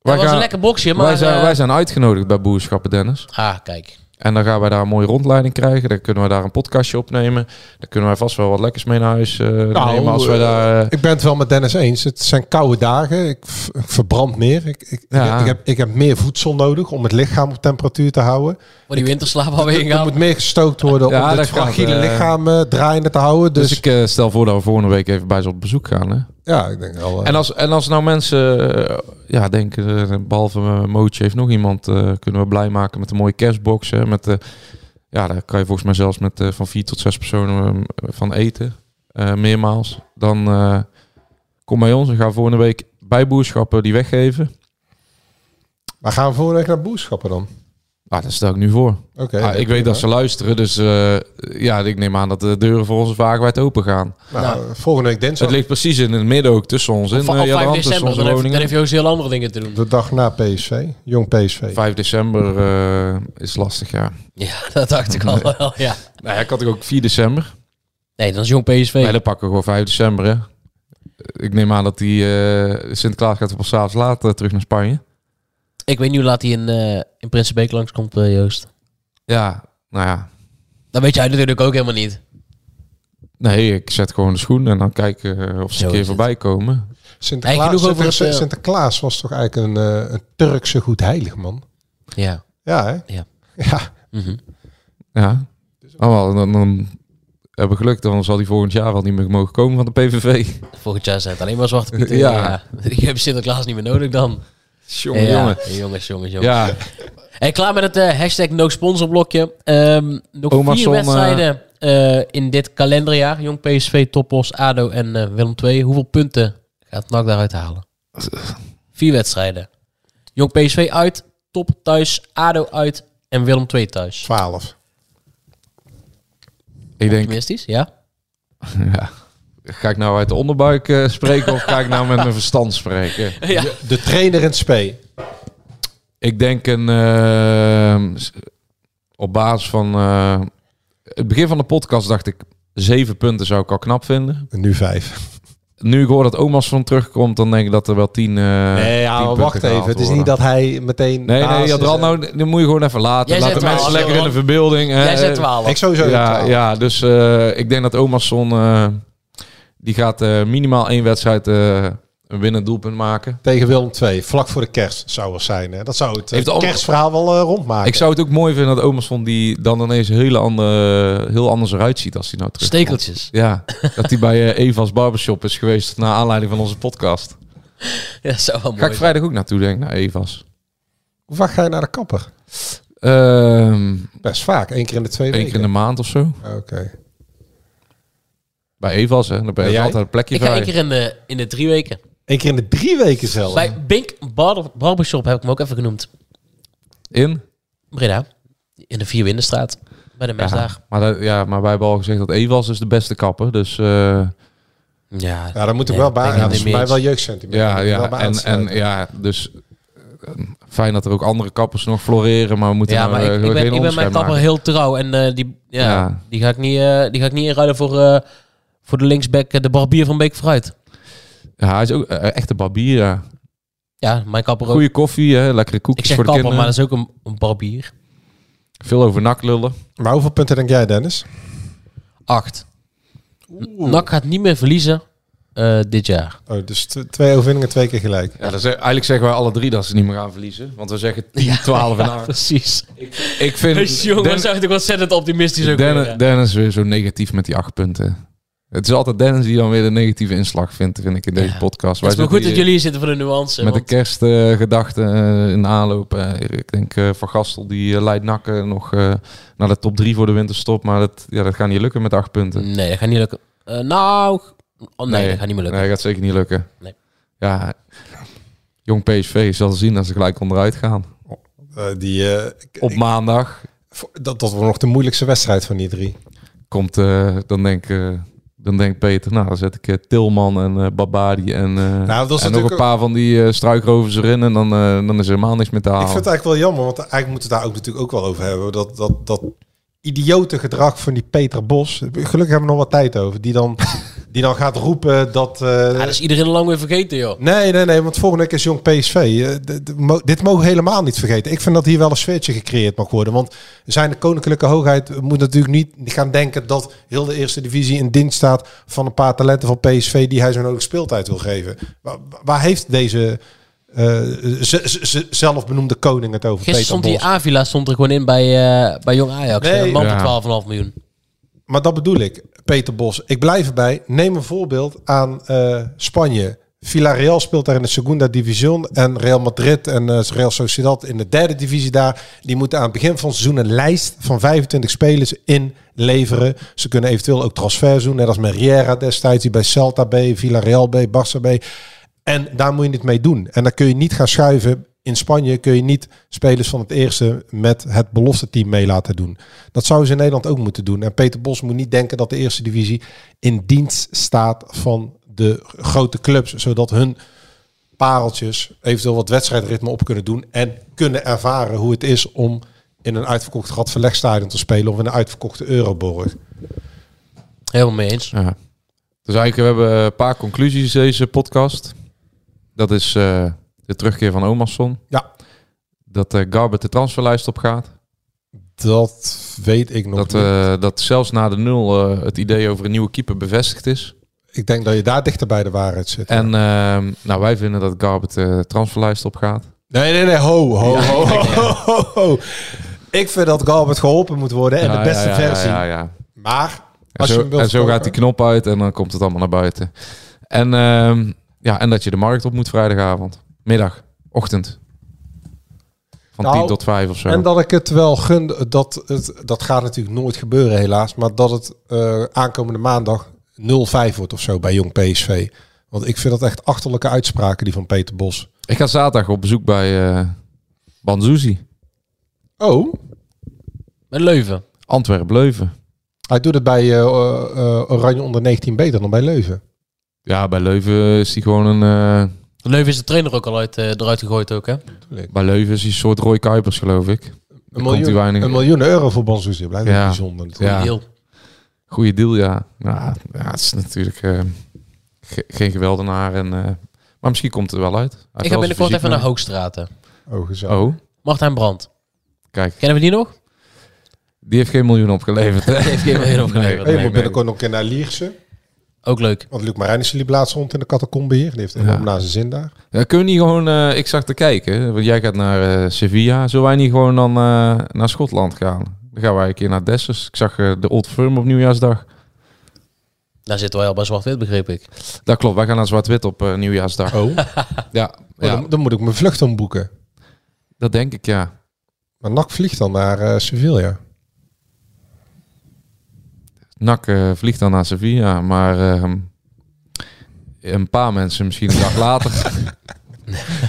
wij, was gaan- een lekker boxje, maar... wij, zijn, eh, wij zijn uitgenodigd bij boerschappen, Dennis. Ah, kijk. En dan gaan wij daar een mooie rondleiding krijgen. Dan kunnen we daar een podcastje opnemen. Dan kunnen wij vast wel wat lekkers mee naar huis eh, nemen. Als we eh, daar, eh, Ik ben het wel met Dennis eens. Het zijn koude dagen. Ik, v- ik verbrand meer. Ik, ik, Ja. ik, ik heb, ik heb meer voedsel nodig om het lichaam op temperatuur te houden. Voor die winterslaap waar we in Er gaan. moet meer gestookt worden Ja, om dat het gaat, fragiele eh, lichaam eh, draaiende te houden. Dus, dus ik eh, stel voor dat we volgende week even bij ze op bezoek gaan. Hè? ja, ik denk wel. eh, En, als, en als nou mensen eh, ja, denken, eh, behalve eh, Mootje heeft nog iemand, eh, kunnen we blij maken met een mooie kerstbox. Hè? Met, eh, ja, daar kan je volgens mij zelfs met eh, van vier tot zes personen eh, van eten. eh, meermaals. Dan eh, kom bij ons en ga volgende week bij bij boerschappen die weggeven. Maar gaan we volgende week naar boerschappen dan? Ah, daar stel ik nu voor. Oké. Ah, ik weet dat ze luisteren, dus eh, ja, ik neem aan dat de deuren voor ons wagenwijd open gaan. Nou, volgende week dinsdag. Het ligt precies in het midden ook tussen ons. In, Van eh, op 5 Jadran, tussen december, onze dan heeft, dan woningen. heeft Joost heel andere dingen te doen. De dag na PSV. Jong PSV. 5 december eh, is lastig, ja. Ja, dat dacht ik al wel, ja. Nou ja, ik had er ook 4 december. Nee, dan is Jong Wij PSV. dan pakken we gewoon 5 december, hè. Ik neem aan dat die eh, Sinterklaas gaat op s'avonds later terug naar Spanje. Ik weet niet hoe laat hij in, eh in Prinsenbeek langskomt, eh, Joost. Ja, nou ja. Dat weet jij natuurlijk ook helemaal niet. Nee, ik zet gewoon de schoen en dan kijken eh, of ze Zo een keer is het. voorbij komen. Sinterklaas, Hey, genoeg over Sinter- het, eh, Sinterklaas was toch eigenlijk een, eh, een Turkse goed heilig man? Ja. Ja, hè? Ja. Ja, Mhm. Ja. Oh, wel, dan, dan hebben we geluk, dan zal die volgend jaar wel niet meer mogen komen van de PVV. Volgend jaar zijn het alleen maar zwarte pieten. Ja. Je hebt Sinterklaas niet meer nodig dan. Jongen, ja. jongen. Jongens, jongens, jongens. Ja, Hey, klaar met het eh, hashtag no sponsor blokje. Ehm, nog Omason, vier wedstrijden eh, in dit kalenderjaar. Jong PSV, Topos, ADO en eh Willem II. Hoeveel punten gaat NAC daaruit halen? vier wedstrijden. Jong PSV uit, Top thuis, ADO uit en Willem II thuis. 12. ik denk, Optimistisch, ja? ja. ga ik nou uit de onderbuik eh, spreken of ga ik nou met mijn verstand spreken? ja. De trainer in het spe. Ik denk een, eh, s- op basis van eh, het begin van de podcast dacht ik, zeven punten zou ik al knap vinden. En nu 5. Nu ik hoor dat Omas van terugkomt, dan denk ik dat er wel tien. eh nee, tien ja, maar punten wacht gehaald even. Het is worden. niet dat hij meteen... Nee, baas nee, is, Jadran, eh. nou, dan moet je gewoon even laten. Jij Laat zet de mensen 12, lekker in de Jadran. verbeelding. eh, Jij zet 12. Ik sowieso ja, 12. ja, dus eh, ik denk dat Omasson eh, die gaat eh, minimaal één wedstrijd eh, een winnend doelpunt maken. Tegen Willem II, vlak voor de kerst zou wel zijn. Hè? Dat zou het eh, Heeft al- kerstverhaal wel eh, rondmaken. Ik zou het ook mooi vinden dat Omasson die dan ineens hele andere, heel anders eruit ziet als hij nou terug. Stekeltjes. Ja, dat hij bij eh, Eva's Barbershop is geweest naar aanleiding van onze podcast. Ja, dat zou wel Ga Oh, mooi ik vrijdag ook naartoe, denk ik, naar Eva's. Hoe vaak ga je naar de kapper? Ehm Best vaak, één keer in de twee Eén keer weken. Ah, in de maand of zo. Oké. Bij Eva's, hè. Dan ben je jij? altijd een plekje Ik ga vrij. één keer in de, in de drie weken. Eén keer in de drie weken zelf. Bij Bink Bar- Barbershop heb ik hem ook even genoemd. In? Breda. In de Vier Windenstraat. Bij de Mesdag. Ja, maar, dat, ja, maar wij hebben al gezegd dat Eva's is de beste kapper. Dus eh, Ja, Ja, dan moet ik Nee, wel bij. ik Ja, denk dat niet is voor meer mij wel eens. jeugdcentiment. ja, Daar moet ik ja. wel bij En, en aansluiten. ja, dus eh, fijn dat er ook andere kappers nog floreren. Maar we moeten Ja, nou, maar eh, ik, ik, geen ben, ik ben mijn onderscheid kapper maken. heel trouw. En eh, die, ja, Ja. Die, ga ik niet, eh, die ga ik niet inruilen voor, eh, voor de linksback, eh, de barbier van Beek vooruit. Ja, hij is ook eh, echt een barbier. ja. Ja, mijn kapper ook. Goeie koffie, hè, lekkere Ik koekjes zeg voor de kapper, maar kinderen. dat is ook een, een barbier. Veel over nak lullen. Maar hoeveel punten denk jij, Dennis? Acht. NAC gaat niet meer verliezen eh, dit jaar. Oh, dus t- twee overwinningen, twee keer gelijk. Ja, dat is, eigenlijk zeggen wij alle drie dat ze niet meer gaan verliezen. Want we zeggen 10, 12 en 8. Precies. Ik vind Dus jongens, Den- zag ik ontzettend optimistisch ook Dennis, weer, ja. Dennis weer zo negatief met die 8 punten. Het is altijd Dennis die dan weer de negatieve inslag vindt, vind ik, in deze Ja. podcast. Het is Wij maar goed dat zitten hier jullie hier zitten voor de nuance. Met de want- kerstgedachte in aanloop. eh, ik denk eh, Van Gastel die eh, leidt nakken nog eh, naar de top 3 voor de winterstop. Maar dat, ja, dat gaat niet lukken met 8 punten. Nee, dat gaat niet lukken. Eh, nou, oh, nee, dat gaat niet meer lukken. Nee, dat gaat zeker niet lukken. Nee. Ja, jong PSV zal zien als ze gelijk onderuit gaan. Eh, die, eh, ik- Op ik- maandag voor- dat, dat wordt nog de moeilijkste wedstrijd van die drie. komt, eh, dan, denk, eh, dan denkt Peter, nou dan zet ik eh, Tilman en eh, Babadi en, eh, Nou, dat is en nog natuurlijk een paar van die eh, struikrovers erin. En dan, eh, dan is er helemaal niks meer te Ik halen. vind het eigenlijk wel jammer, want eigenlijk moeten we het daar ook natuurlijk ook wel over hebben. Dat, dat, dat idiote gedrag van die Peter Bos. Gelukkig hebben we nog wat tijd over. Die dan, die dan gaat roepen dat... eh, Ja, dat is iedereen al lang weer vergeten, joh. Nee, nee, nee, want volgende week is Jong PSV. Eh, d- d- mo- dit mogen we helemaal niet vergeten. Ik vind dat hier wel een sfeertje gecreëerd mag worden. Want zijn koninklijke hoogheid moet natuurlijk niet gaan denken dat heel de eerste divisie in dienst staat van een paar talenten van PSV die hij zo nodig speeltijd wil geven. Waar, waar heeft deze eh, z- z- z- zelfbenoemde koning het over? Gisteren stond die Peter Bos? Avila stond er gewoon in bij, eh, bij Jong Ajax. Nee. Een man Ja. van 12,5 miljoen. Maar dat bedoel ik, Peter Bos. Ik blijf erbij. Neem een voorbeeld aan eh, Spanje. Villarreal speelt daar in de Segunda Division. En Real Madrid en eh, Real Sociedad in de derde divisie daar. Die moeten aan het begin van het seizoen een lijst van 25 spelers inleveren. Ze kunnen eventueel ook transfers doen. Net als Meriera destijds, die bij Celta B, Villarreal B, Barça B. En daar moet je het mee doen. En dan kun je niet gaan schuiven. In Spanje kun je niet spelers van het eerste met het belofte team mee laten doen. Dat zouden ze in Nederland ook moeten doen. En Peter Bos moet niet denken dat de eerste divisie in dienst staat van de grote clubs. Zodat hun pareltjes eventueel wat wedstrijdritme op kunnen doen. En kunnen ervaren hoe het is om in een uitverkocht Radverlegstadion te spelen of in een uitverkochte Euroborg. Helemaal mee eens. Ja. Dus eigenlijk, we hebben een paar conclusies deze podcast. Dat is eh, de terugkeer van Omarsson. Ja. Dat eh Garber de transferlijst op gaat. Dat weet ik nog Dat, niet. eh, dat zelfs na de nul eh, het idee over een nieuwe keeper bevestigd is. ik denk dat je daar dichter bij de waarheid zit. En ehm, nou, wij vinden dat Garbert eh, de transferlijst op gaat. Nee, nee, nee. Ho, ho, ho, ho, ho, ho. Ik vind dat Galbert geholpen moet worden en Ja, de beste ja, ja, versie. Ja, ja, Maar En als je zo, hem wilt en zo verkopen- gaat die knop uit en dan komt het allemaal naar buiten. En, ehm, ja, en dat je de markt op moet vrijdagavond. Middag, ochtend. Van Nou, 10 tot 5 of zo. En dat ik het wel gun, dat, het, dat gaat natuurlijk nooit gebeuren helaas, maar dat het eh, aankomende maandag 0-5 wordt of zo bij Jong PSV. Want ik vind dat echt achterlijke uitspraken die van Peter Bos. Ik ga zaterdag op bezoek bij eh Banzuzi. Oh, Met Leuven. Antwerp-Leuven. hij doet het bij eh, eh, Oranje onder 19 beter dan bij Leuven. Ja, bij Leuven is hij gewoon een... eh, Leuven is de trainer ook al uit, eh, eruit gegooid ook, hè? bij Leuven is hij een soort Roy Kuipers, geloof ik. Een komt hij miljoen, weinig- een miljoen euro voor Bansoezie, blijft Ja. ja. bijzonder. Ja. Heel. Goeie deal, ja. Ja, ja het is natuurlijk eh, ge- geen geweldenaar. En, eh, maar misschien komt het er wel uit. Hij heeft Ik ga wel zijn binnenkort fysiek even naar mee. Hoogstraten. Oh, gezellig. Oh, Martijn Brand. kijk. Kennen we die nog? Die heeft geen miljoen opgeleverd. hè? Die heeft geen miljoen opgeleverd. Hey, Nee, je nee, moet binnenkort nog een keer naar Lierse. Ook leuk. Want Luc Marijnissen liep laatst rond in de catacombe hier. Die heeft helemaal naar zijn zin daar. nee. Ja, kunnen we niet gewoon... eh, ik zag te kijken. Want jij gaat naar eh, Sevilla. Zullen wij niet gewoon dan eh, naar Schotland gaan? Dan gaan wij een keer naar Dessers. Ik zag eh, de Old Firm op nieuwjaarsdag. Daar zitten wij al bij zwart-wit, begreep ik. Dat klopt. Wij gaan naar Zwart-Wit op eh, nieuwjaarsdag. Oh, Ja, ja. ja, dan, dan moet ik mijn vlucht omboeken. dat denk ik, ja. Maar NAC vliegt dan naar eh, Sevilla. Nak eh, vliegt dan naar Sevilla, maar ehm, een paar mensen misschien een dag later.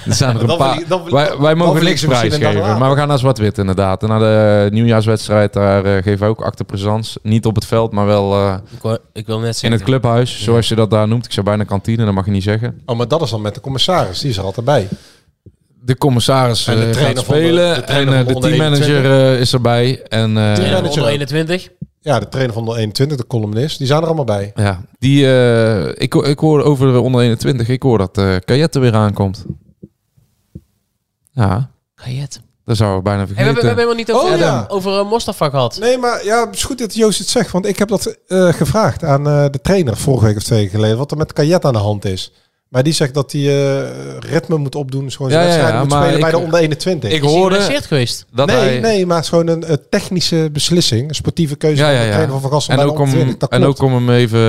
er zijn er een Dan paar. verlie- dan verlie- wij, wij mogen verliezen niks ze misschien een dag prijsgeven, later. maar we gaan naar Zwart-Wit inderdaad. En na de nieuwjaarswedstrijd, daar eh, geven we ook acte présence. Niet op het veld, maar wel eh, Ik, wou- ik wil net in zeggen. het clubhuis, zoals je dat daar noemt. Ik zou bijna kantine, dat mag je niet zeggen. Oh, maar dat is dan met de commissaris. Die is er altijd bij. De commissaris En de eh, gaat trainer van de- spelen de en trainer eh, van de onder teammanager eh, is erbij. En, eh, Trainer van manager onder ook. 21. Ja, de trainer van de 21, de columnist. Die zijn er allemaal bij. Ja, die, eh, ik, ho- ik hoor over de onder 21, ik hoor dat eh Kayet er weer aankomt. Ja, Kajet. dat zouden we bijna Hey, we, hebben- we vergeten. hebben helemaal niet over, Oh, ja. eh, over eh, Mostafa gehad. Nee, maar ja, het is goed dat Joost het zegt. Want ik heb dat eh, gevraagd aan eh, de trainer vorige week of twee weken geleden. Wat er met Kajet aan de hand is. Maar die zegt dat hij eh, ritme moet opdoen. Dus gewoon zijn Ja, ja, wedstrijd ja, moet maar spelen bij ik- de onder 21. ik Is hij hoorde geblesseerd geweest? dat nee, hij... nee, maar het is gewoon een eh, technische beslissing. Een sportieve keuze Ja, van ja, de ja. trainer van Van Gassel En bij de ook, om, onder 20. Dat en klopt. ook om hem even...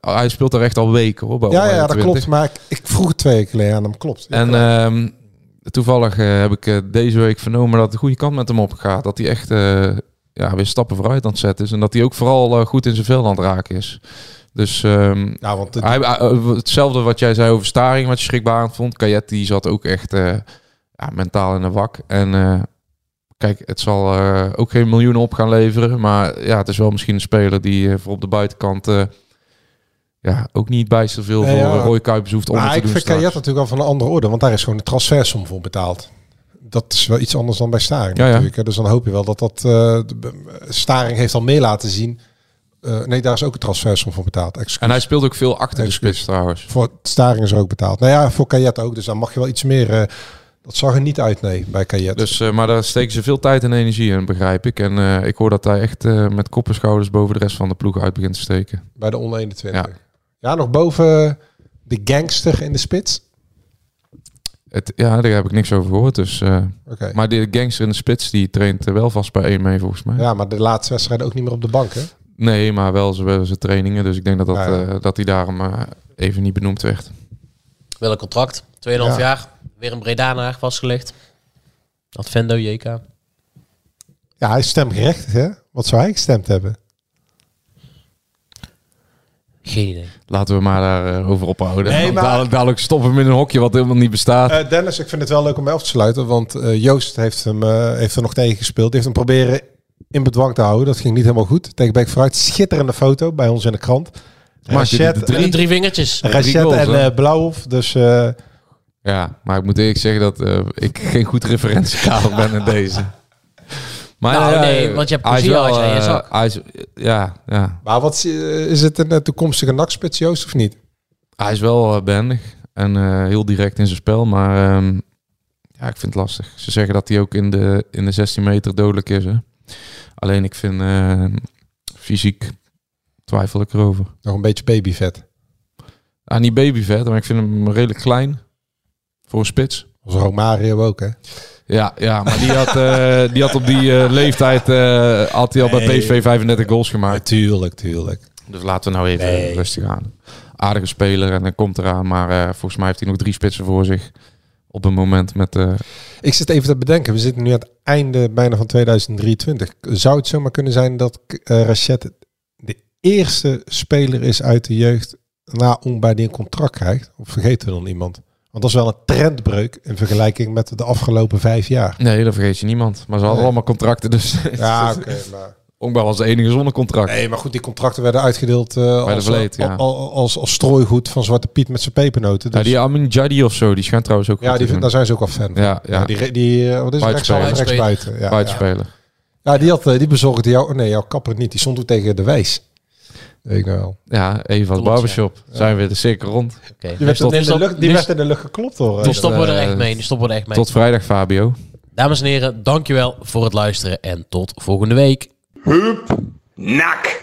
eh, hij speelt er echt al weken hoor, bij Ja, onder ja, dat 21. klopt. Maar ik, ik vroeg het twee weken geleden aan hem. Klopt. En ehm, toevallig eh, heb ik eh, deze week vernomen dat het de goede kant met hem opgaat. Dat hij echt eh, ja, weer stappen vooruit aan het zetten is. En dat hij ook vooral eh, goed in zijn vel aan het raken is. Dus ehm, ja, want het- Hij, hij- eh, hetzelfschelfde wat jij zei over Staring, wat je schrikbarend vond. Kajet die zat ook echt eh, ja, mentaal in de wak. En eh, kijk, het zal eh, ook geen miljoenen op gaan leveren. Maar ja, het is wel misschien een speler die eh, voor op de buitenkant eh, ja, ook niet bijster veel Nee, voor ja. eh, Roy Kuipers hoeft onder Maar te ik doen vind straks. Kajet natuurlijk al van een andere orde, want daar is gewoon een transfersom voor betaald. Dat is wel iets anders dan bij Staring Ja, ja. natuurlijk. hè. Dus dan hoop je wel dat dat... eh, de- be- Staring heeft al meer laten zien. Eh, nee, daar is ook een transfersom voor betaald. Excuus. En hij speelt ook veel achter de Excuus. spits trouwens. Voor Staring is er ook betaald. Nou ja, voor Kajet ook. Dus dan mag je wel iets meer... eh, dat zag er niet uit, nee, bij Kajet. Dus, eh, maar daar steken ze veel tijd en energie in, begrijp ik. En eh, ik hoor dat hij echt eh, met kop en schouders boven de rest van de ploeg uit begint te steken. bij de onder 21. Ja. nog boven de gangster in de spits. Het, ja, daar heb ik niks over gehoord, dus... eh, Oké. Maar de gangster in de spits, die traint eh, wel vast bij één mee volgens mij. Ja, maar de laatste wedstrijd ook niet meer op de bank, hè? Nee, maar wel ze- wel zijn trainingen. Dus ik denk dat, dat, Ja, ja. eh, dat hij daarom eh, even niet benoemd werd. Wel een contract. 2,5 Ja. jaar. Weer een Bredanaar vastgelegd. Advendo, JK. Ja, hij is stemgerechtigd, hè? Wat zou hij gestemd hebben? Geen idee. Laten we maar daarover over ophouden. Nee, Want maar- dadelijk, dadelijk stoppen we in een hokje wat helemaal niet bestaat. Eh, Dennis, ik vind het wel leuk om mee af te sluiten. Want eh, Joost heeft, hem, eh, heeft er nog tegen gespeeld. Die heeft hem proberen in bedwang te houden. Dat ging niet helemaal goed. Tegen Beek vooruit. Schitterende foto bij ons in de krant. Maakte die Rachet, de drie? Drie, drie vingertjes. drie Rachet goals, en hè? eh, Blauwhof. Dus eh, Ja, maar ik moet eerlijk zeggen dat eh, ik geen goed referentiekader ben in deze. Maar Nou, ja, nee, eh, want je hebt hij is Koziel wel, aan je eh, zak. hij is, ja, ja, maar wat, eh, is het een eh, toekomstige nachtspits, Joost, of niet? hij is wel eh, behendig en eh, heel direct in zijn spel. Maar ehm, ja, ik vind het lastig. Ze zeggen dat hij ook in de, in de 16 meter dodelijk is. Hè? Alleen ik vind eh, fysiek twijfel ik erover. Nog een beetje babyvet. Ah, niet babyvet, maar ik vind hem redelijk klein voor een spits. Als Romario ook, hè? Ja, ja maar die had, eh, die had op die eh, leeftijd eh, had hij al bij Nee. PSV 35 goals gemaakt. Tuurlijk, tuurlijk. Dus laten we nou even Nee. rustig aan. Aardige speler en dan komt eraan. Maar eh, volgens mij heeft hij nog drie spitsen voor zich. Op een moment met... eh, Ik zit even te bedenken. We zitten nu aan het einde bijna van 2023. Zou het zomaar kunnen zijn dat eh Rachet de eerste speler is uit de jeugd na Oemba die een contract krijgt? Of vergeten we dan iemand? Want dat is wel een trendbreuk in vergelijking met de afgelopen vijf jaar. nee, dat vergeet je niemand. Maar ze hadden Nee. allemaal contracten. Dus Ja, oké. maar... Onkbaar was de enige zonder contract. Nee, maar goed, die contracten werden uitgedeeld eh, de als, verleed, ja. als, als, als strooigoed van Zwarte Piet met zijn pepernoten. Ja, Dus, Nou, die Amin Jadi of zo, die schijnt trouwens ook ja, goed die, te vind- daar zijn doen. ze ook al fan van. Ja, ja. Die, re- die, eh, wat is het? Buitenspeler. Rechtshalve, rechtsbuiten. Ja, ja. Buitenspeler. Ja, die, had, eh, die bezorgde jou. oh Nee, jouw kapper niet. Die stond toen tegen de wijs. Weet ik nou wel. Ja, even Klopt, wat barbershop. Zijn we de cirkel rond. Oké. Die werd, Tot- in, de tot- lucht, die nu- werd in de lucht geklopt hoor. Nu stoppen we er eh, echt mee. Nu stoppen we er echt mee. Tot vrijdag, Fabio. Dames en heren, dankjewel voor het luisteren en tot volgende week. Nak.